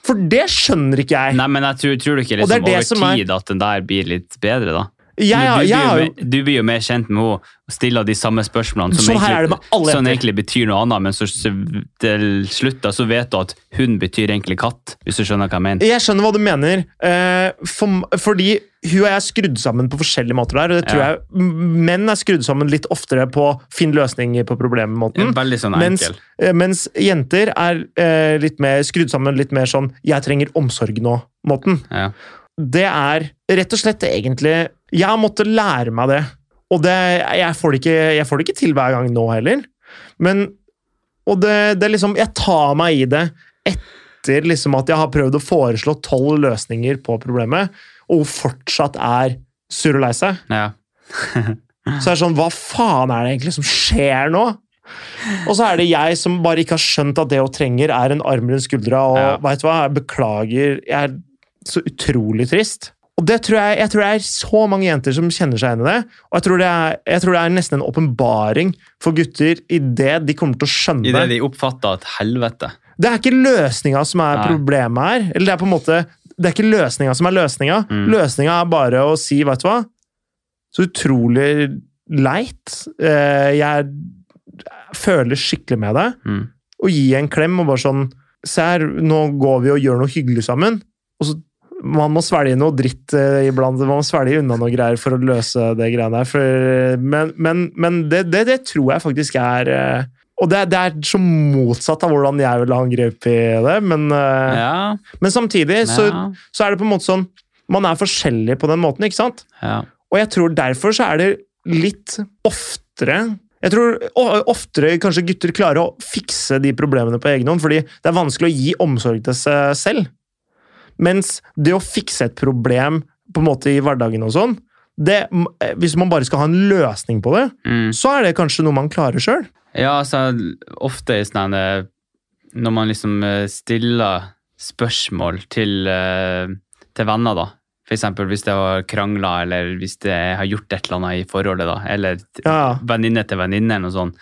[SPEAKER 1] For det skjønner ikke jeg.
[SPEAKER 2] Nei, men jeg tror, tror du ikke
[SPEAKER 1] Og det er
[SPEAKER 2] liksom,
[SPEAKER 1] det
[SPEAKER 2] over
[SPEAKER 1] som er-
[SPEAKER 2] tid at den der blir litt bedre, da?
[SPEAKER 1] Jeg,
[SPEAKER 2] Men
[SPEAKER 1] har-
[SPEAKER 2] du,
[SPEAKER 1] jeg
[SPEAKER 2] blir
[SPEAKER 1] har
[SPEAKER 2] jo
[SPEAKER 1] jo
[SPEAKER 2] mer, du blir jo mer kjent med henne og stiller de samme spørsmålene
[SPEAKER 1] Sånn her er det med alle
[SPEAKER 2] som
[SPEAKER 1] jenter.
[SPEAKER 2] egentlig betyr noe annet, men så s- til slutt da, så vet du at hund betyr egentlig katt, hvis du skjønner hva jeg mener.
[SPEAKER 1] Jeg skjønner hva du mener. eh, for, fordi hun og jeg er skrudd sammen på forskjellige måter der. og Det tror
[SPEAKER 2] Ja.
[SPEAKER 1] jeg, m- Menn er skrudd sammen litt oftere på finn løsninger på problemet-måten.
[SPEAKER 2] Veldig sånn
[SPEAKER 1] Mens,
[SPEAKER 2] enkel.
[SPEAKER 1] eh, mens jenter er eh, litt mer skrudd sammen litt mer sånn 'jeg trenger omsorg nå'-måten.
[SPEAKER 2] Ja.
[SPEAKER 1] Det er rett og slett egentlig Jeg har måttet lære meg det. Og det, jeg, får det ikke, jeg får det ikke til hver gang nå heller. Men Og det, det er liksom Jeg tar meg i det etter liksom at jeg har prøvd å foreslå tolv løsninger på problemet, og hun fortsatt er sur og lei seg.
[SPEAKER 2] Ja.
[SPEAKER 1] Så er det sånn, hva faen er det egentlig som skjer nå? Og så er det jeg som bare ikke har skjønt at det hun trenger, er en arm rundt skuldra. Og
[SPEAKER 2] Ja.
[SPEAKER 1] vet du hva, jeg beklager. Jeg er så utrolig trist. Og det tror jeg, jeg tror det er så mange jenter som kjenner seg igjen i det. Og jeg tror det er, jeg tror det er nesten en åpenbaring for gutter i det de kommer til å skjønne.
[SPEAKER 2] I det de oppfatter at helvete.
[SPEAKER 1] Det er ikke løsninga som er
[SPEAKER 2] Nei.
[SPEAKER 1] problemet her. Eller det er på en måte Det er ikke løsninga som er løsninga.
[SPEAKER 2] Mm.
[SPEAKER 1] Løsninga er bare å si, vet du hva Så utrolig leit. Eh, Jeg føler skikkelig med deg.
[SPEAKER 2] Mm.
[SPEAKER 1] Og gi en klem og bare sånn Se her, nå går vi og gjør noe hyggelig sammen. Og så man må svelge noe dritt eh, iblant. Man må svelge unna noe greier for å løse det greiene her. For, men men, men det, det, det tror jeg faktisk er eh, Og det, er- det er så motsatt av hvordan jeg ville ha grep i det. Men, eh,
[SPEAKER 2] Ja,
[SPEAKER 1] men samtidig Eh, så,
[SPEAKER 2] ja,
[SPEAKER 1] så er det på en måte sånn Man er forskjellig på den måten, ikke sant?
[SPEAKER 2] ja.
[SPEAKER 1] Og jeg tror derfor så er det litt oftere Jeg tror o- oftere kanskje gutter klarer å fikse de problemene på egen hånd, fordi det er vanskelig å gi omsorg til seg selv. Mens det å fikse et problem på en måte i hverdagen og sånn, det, eh, hvis man bare skal ha en løsning på det,
[SPEAKER 2] Mm.
[SPEAKER 1] så er det kanskje noe man klarer sjøl.
[SPEAKER 2] Ja, altså, ofte i sånne eh, Når man liksom eh, stiller spørsmål til, eh, til venner, da. For eksempel hvis det har krangla, eller hvis det har gjort et eller annet i forholdet, da. Eller t-
[SPEAKER 1] Ja,
[SPEAKER 2] venninne til venninne, eller noe sånt.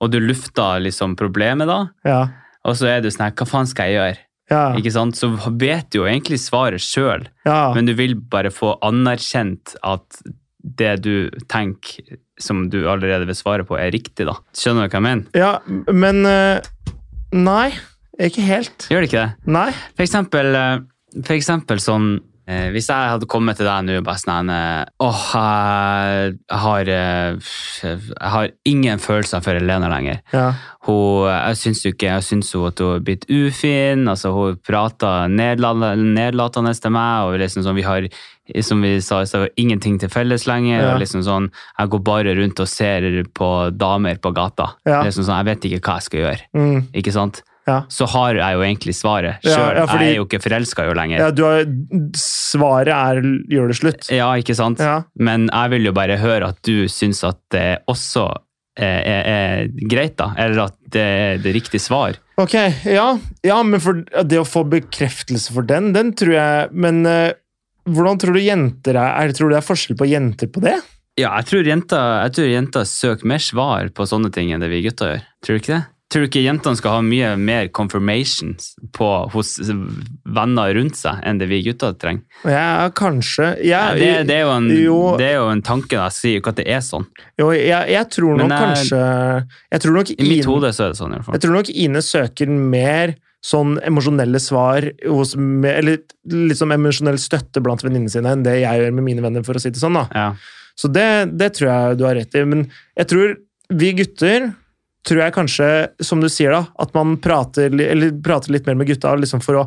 [SPEAKER 2] Og du lufter liksom problemet, da.
[SPEAKER 1] ja,
[SPEAKER 2] Og så er du sånn her, hva faen skal jeg gjøre?
[SPEAKER 1] ja,
[SPEAKER 2] Ikke sant? Så vet du jo egentlig svaret sjøl,
[SPEAKER 1] ja,
[SPEAKER 2] men du vil bare få anerkjent at det du tenker, som du allerede vil svare på, er riktig, da. Skjønner du hva jeg mener?
[SPEAKER 1] ja. Men eh, Nei, ikke helt.
[SPEAKER 2] Gjør det ikke det?
[SPEAKER 1] Nei.
[SPEAKER 2] For eksempel, eh, for eksempel sånn eh, Hvis jeg hadde kommet til deg nå og bare sånn eh, Åh, jeg har eh, Jeg har ingen følelser for Elena lenger.
[SPEAKER 1] Ja,
[SPEAKER 2] Hun, jeg syns jo ikke Jeg syns hun at hun er blitt ufin. altså Hun prater nedla- nedlatende til meg. og liksom sånn, vi har som vi sa, så har vi ingenting til felles lenger.
[SPEAKER 1] Ja.
[SPEAKER 2] og liksom sånn, Jeg går bare rundt og ser på damer på gata.
[SPEAKER 1] Ja.
[SPEAKER 2] Liksom sånn, Jeg vet ikke hva jeg skal gjøre.
[SPEAKER 1] mm,
[SPEAKER 2] ikke sant?
[SPEAKER 1] ja.
[SPEAKER 2] så har jeg jo egentlig svaret
[SPEAKER 1] Ja,
[SPEAKER 2] sjøl.
[SPEAKER 1] ja, fordi-
[SPEAKER 2] Jeg er jo ikke forelska jo lenger.
[SPEAKER 1] ja
[SPEAKER 2] Ja.
[SPEAKER 1] du har, svaret er 'gjør det slutt'.
[SPEAKER 2] ikke sant?
[SPEAKER 1] Ja.
[SPEAKER 2] Men jeg vil jo bare høre at du syns at det også er, er, er greit, da. Eller at det er det riktige svar.
[SPEAKER 1] Ok, ja. ja, men for det å få bekreftelse for den, den tror jeg Men eh, hvordan tror du jenter er? er tror du det er forskjell på jenter på det?
[SPEAKER 2] Ja, jeg tror jenter, jeg tror jenter søker mer svar på sånne ting enn det vi gutter gjør. Tror du ikke det? Tror du ikke jentene skal ha mye mer confirmations på, hos venner rundt seg enn det vi gutter trenger?
[SPEAKER 1] Ja, kanskje.
[SPEAKER 2] Ja,
[SPEAKER 1] Jeg,
[SPEAKER 2] det, det, er jo en,
[SPEAKER 1] jo.
[SPEAKER 2] det er jo en tanke. da. Jeg sier jo ikke at det er sånn.
[SPEAKER 1] jo, jeg, jeg tror
[SPEAKER 2] Men
[SPEAKER 1] nok
[SPEAKER 2] jeg-
[SPEAKER 1] kanskje Jeg tror nok
[SPEAKER 2] I mitt
[SPEAKER 1] Ine-
[SPEAKER 2] hode så er det sånn. i hvert fall.
[SPEAKER 1] Jeg tror nok Ine søker mer sånn emosjonelle svar hos, eller litt sånn emosjonell støtte blant venninnene sine enn det jeg gjør med mine venner, for å si det sånn. da.
[SPEAKER 2] Ja.
[SPEAKER 1] Så det, det tror jeg du har rett i. Men jeg tror vi gutter tror jeg kanskje, som du sier da, at man prater, li- eller prater litt mer med gutta liksom for å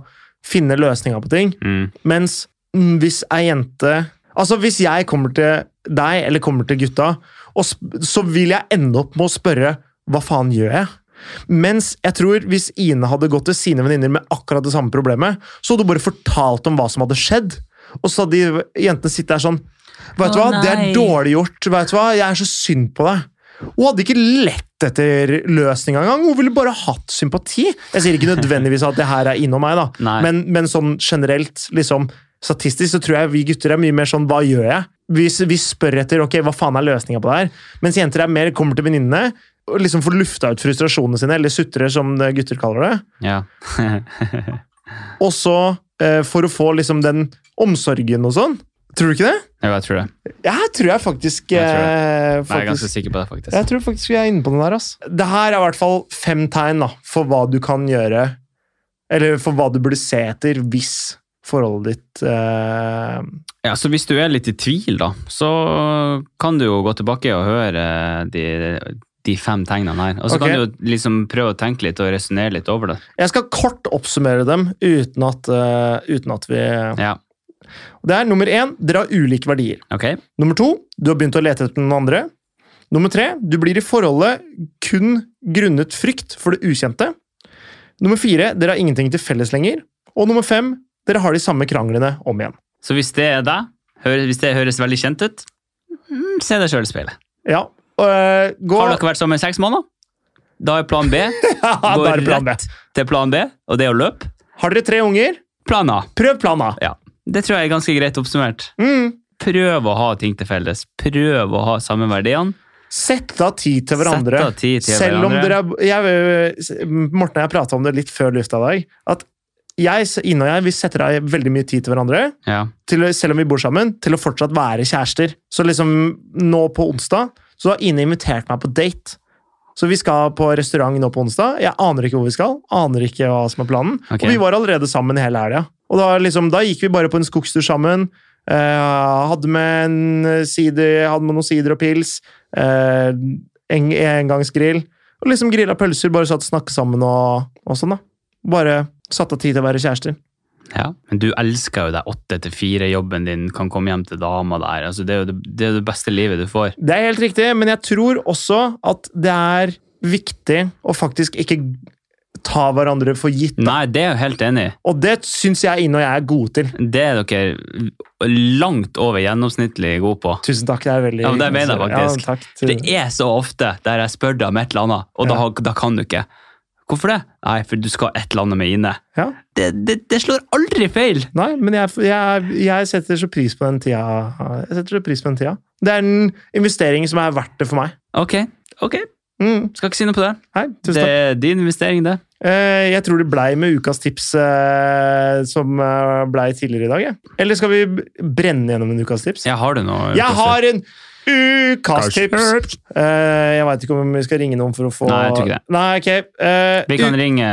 [SPEAKER 1] finne løsninger på ting.
[SPEAKER 2] Mm.
[SPEAKER 1] Mens mm, hvis ei jente Altså, hvis jeg kommer til deg, eller kommer til gutta, og sp så vil jeg ende opp med å spørre hva faen gjør jeg? Mens jeg tror hvis Ine hadde gått til sine venninner med akkurat det samme problemet, så hadde hun bare fortalt om hva som hadde skjedd, og så hadde de jentene sittet der sånn Vet du
[SPEAKER 2] Å,
[SPEAKER 1] hva, det er
[SPEAKER 2] nei.
[SPEAKER 1] dårlig gjort. Vet du hva, jeg er så synd på deg. Hun hadde ikke lett etter løsning engang. Hun ville bare hatt sympati. Jeg sier ikke nødvendigvis at det her er innom meg, da.
[SPEAKER 2] Nei.
[SPEAKER 1] Men, men sånn generelt, liksom, statistisk, så tror jeg vi gutter er mye mer sånn Hva gjør jeg? Vi, s- vi spør etter ok, hva faen er løsninga på det her. Mens jenter er mer kommer til venninnene og liksom får lufta ut frustrasjonene sine, eller sutrer, som det gutter kaller det.
[SPEAKER 2] Ja.
[SPEAKER 1] Og så, eh, for å få liksom den omsorgen og sånn. Tror du ikke det?
[SPEAKER 2] Jo, jeg tror det.
[SPEAKER 1] Jeg tror jeg faktisk
[SPEAKER 2] Jeg tror det.
[SPEAKER 1] eh,
[SPEAKER 2] Nei, jeg er
[SPEAKER 1] faktisk-
[SPEAKER 2] ganske sikker på det, faktisk.
[SPEAKER 1] jeg tror faktisk vi er inne på den der. ass. Det her er i hvert fall fem tegn da, for hva du kan gjøre, eller for hva du burde se etter hvis forholdet ditt eh,
[SPEAKER 2] Ja, så hvis du er litt i tvil, da, så kan du jo gå tilbake og høre de, de fem tegnene her. Og så
[SPEAKER 1] Ok.
[SPEAKER 2] kan du jo liksom prøve å tenke litt og resonnere litt over det.
[SPEAKER 1] Jeg skal kort oppsummere dem uten at, eh, uten at vi
[SPEAKER 2] Ja,
[SPEAKER 1] Det er nummer én dere har ulike verdier.
[SPEAKER 2] ok?
[SPEAKER 1] Nummer to du har begynt å lete etter noen andre. Nummer tre du blir i forholdet kun grunnet frykt for det ukjente. Nummer fire dere har ingenting til felles lenger. Og nummer fem dere har de samme kranglene om igjen.
[SPEAKER 2] Så hvis det er deg, hø- hvis det høres veldig kjent ut, mm, se deg sjøl i speilet.
[SPEAKER 1] Ja. øh, gå
[SPEAKER 2] Har dere vært sammen i seks måneder? Da er plan B
[SPEAKER 1] [laughs] Ja,
[SPEAKER 2] gå
[SPEAKER 1] da er det plan B.
[SPEAKER 2] rett til plan B, og det er å løpe.
[SPEAKER 1] Har dere tre unger?
[SPEAKER 2] Plan A.
[SPEAKER 1] Prøv plan A.
[SPEAKER 2] Ja. Det tror jeg er ganske greit oppsummert.
[SPEAKER 1] Mm.
[SPEAKER 2] Prøv å ha ting til felles. Prøv å ha samme verdiene.
[SPEAKER 1] Sett av tid til hverandre.
[SPEAKER 2] Sett av tid til
[SPEAKER 1] Selv om
[SPEAKER 2] hverandre.
[SPEAKER 1] dere er jeg, Morten og jeg prata om det litt før lufta i dag. At jeg, Ine og jeg vi setter av veldig mye tid til hverandre,
[SPEAKER 2] Ja.
[SPEAKER 1] til, å- selv om vi bor sammen, til å fortsatt være kjærester. Så liksom nå på onsdag så har Ine invitert meg på date. Så vi skal på restaurant nå på onsdag. Jeg aner ikke hvor vi skal. aner ikke hva som er planen.
[SPEAKER 2] Ok.
[SPEAKER 1] Og vi var allerede sammen hele helga. Og da, liksom, da gikk vi bare på en skogstur sammen. eh, hadde med en sider, hadde med noen sider og pils. eh, en, engangsgrill. Og liksom grilla pølser, bare satt og snakket sammen og, og sånn, da. Bare satt av tid til å være kjærester.
[SPEAKER 2] Ja, men du elsker jo det åtte til fire jobben din, kan komme hjem til dama der. Altså, det er jo det, det, er jo det beste livet du får.
[SPEAKER 1] Det er helt riktig, men jeg tror også at det er viktig å faktisk ikke ta hverandre for gitt.
[SPEAKER 2] Nei, det er jeg helt enig i.
[SPEAKER 1] Og det syns jeg Ine og jeg er gode til.
[SPEAKER 2] Det er dere langt over gjennomsnittlig gode på.
[SPEAKER 1] Tusen takk, det er veldig
[SPEAKER 2] Ja, men det mener jeg faktisk.
[SPEAKER 1] Ja, takk
[SPEAKER 2] Det
[SPEAKER 1] til...
[SPEAKER 2] er så ofte der jeg spør deg om et eller annet, og da,
[SPEAKER 1] Ja.
[SPEAKER 2] har- da kan du ikke. Hvorfor det? Nei, for du skal et eller annet med Ine.
[SPEAKER 1] ja.
[SPEAKER 2] Det, det, det slår aldri feil!
[SPEAKER 1] Nei, men jeg, jeg, jeg setter så pris på den tida. Jeg setter så pris på den tida. Det er en investering som er verdt det for meg.
[SPEAKER 2] Ok, ok.
[SPEAKER 1] Mm.
[SPEAKER 2] Skal ikke si noe på det.
[SPEAKER 1] Hei, tusen
[SPEAKER 2] Det
[SPEAKER 1] takk.
[SPEAKER 2] er din investering, det.
[SPEAKER 1] Eh, Jeg tror det blei med ukas tips eh, som eh, blei tidligere i dag. jeg. Eller skal vi b- brenne gjennom en ukas tips?
[SPEAKER 2] Ja, har du noe?
[SPEAKER 1] Jeg har en ukas tips!
[SPEAKER 2] Kanskje.
[SPEAKER 1] Eh, jeg veit ikke om vi skal ringe noen for å få
[SPEAKER 2] Nei, jeg tror ikke det.
[SPEAKER 1] Nei, ok. Eh,
[SPEAKER 2] Vi kan ringe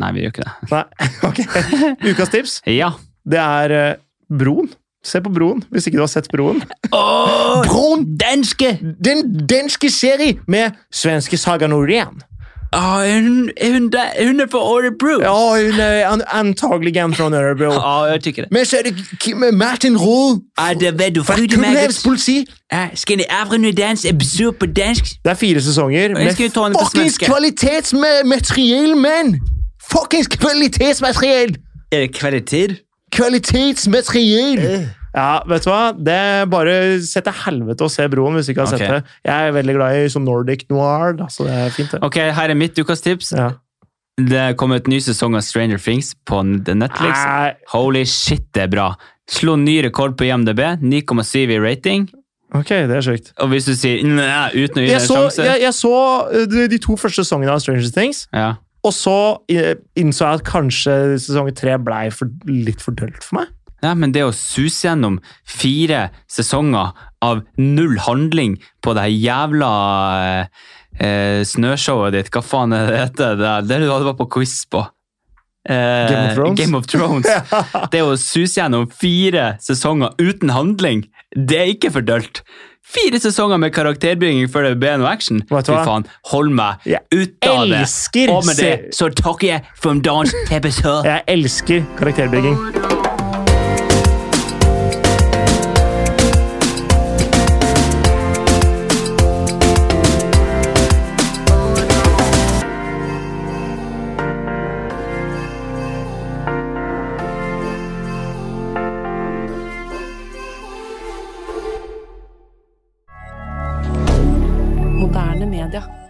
[SPEAKER 2] Nei, vi gjør ikke det.
[SPEAKER 1] u- Nei, [laughs] ok. Ukas tips,
[SPEAKER 2] Ja.
[SPEAKER 1] det er eh, broen. Se på broen, hvis ikke du har sett broen.
[SPEAKER 2] Åh,
[SPEAKER 1] Broen!
[SPEAKER 2] danske!
[SPEAKER 1] Den danske serie med svenske Saga Norén.
[SPEAKER 2] Åh, Ah, er hun, er hun, der, er hun er på Årebro?
[SPEAKER 1] Ja, hun er an antagligen fra Örebro.
[SPEAKER 2] Ja, jeg tykker
[SPEAKER 1] [laughs]
[SPEAKER 2] det.
[SPEAKER 1] Men så er det Kim Martin Roll
[SPEAKER 2] Ja, Ah, det ved du, Ah,
[SPEAKER 1] fra
[SPEAKER 2] fryd
[SPEAKER 1] Københavns politi.
[SPEAKER 2] Ja, Skandinaverne dans episode på dansk.
[SPEAKER 1] Det er fire sesonger
[SPEAKER 2] Jeg skal jo ta henne på
[SPEAKER 1] fuckings
[SPEAKER 2] svenske.
[SPEAKER 1] kvalitetsmateriell, mann! Fuckings kvalitetsmateriell!
[SPEAKER 2] Er det kvalitet?
[SPEAKER 1] Kvalitetsmateriell! Ja, vet du hva? Det er bare sett til helvete å se Broen hvis du ikke har
[SPEAKER 2] Ok.
[SPEAKER 1] sett det. Jeg er veldig glad i sånn Nordic noir, da, så det er fint, det.
[SPEAKER 2] Ok, her er mitt ukas tips.
[SPEAKER 1] Ja.
[SPEAKER 2] Det er kommet ny sesong av Stranger Things på Netflix.
[SPEAKER 1] Nei,
[SPEAKER 2] Holy shit, det er bra. Slo ny rekord på IMDb. 9,7 i rating.
[SPEAKER 1] ok, det er sjukt.
[SPEAKER 2] Og hvis du sier nei uten å gi det
[SPEAKER 1] Jeg
[SPEAKER 2] en
[SPEAKER 1] så,
[SPEAKER 2] sjanse
[SPEAKER 1] jeg, jeg så eh, de, de to første sesongene av Stranger Things,
[SPEAKER 2] Ja.
[SPEAKER 1] og så eh, innså jeg at kanskje sesong tre blei for, litt for dølt for meg.
[SPEAKER 2] Nei, men det å suse gjennom fire sesonger av null handling på det her jævla eh, eh, snøshowet ditt, hva faen er det heter? Det, det du hadde vært på quiz på. Eh,
[SPEAKER 1] Game of Thrones?
[SPEAKER 2] Game
[SPEAKER 1] [laughs]
[SPEAKER 2] of Thrones. det å suse gjennom fire sesonger uten handling, det er ikke for dølt. Fire sesonger med karakterbygging før det blir noe action.
[SPEAKER 1] Vet du
[SPEAKER 2] Fy
[SPEAKER 1] hva?
[SPEAKER 2] faen, hold meg
[SPEAKER 1] Jeg
[SPEAKER 2] ut av det.
[SPEAKER 1] elsker
[SPEAKER 2] Og med det
[SPEAKER 1] se-
[SPEAKER 2] så takker jeg for dagens
[SPEAKER 1] [laughs]
[SPEAKER 2] episode.
[SPEAKER 1] Jeg elsker karakterbygging.
[SPEAKER 3] Moderne media.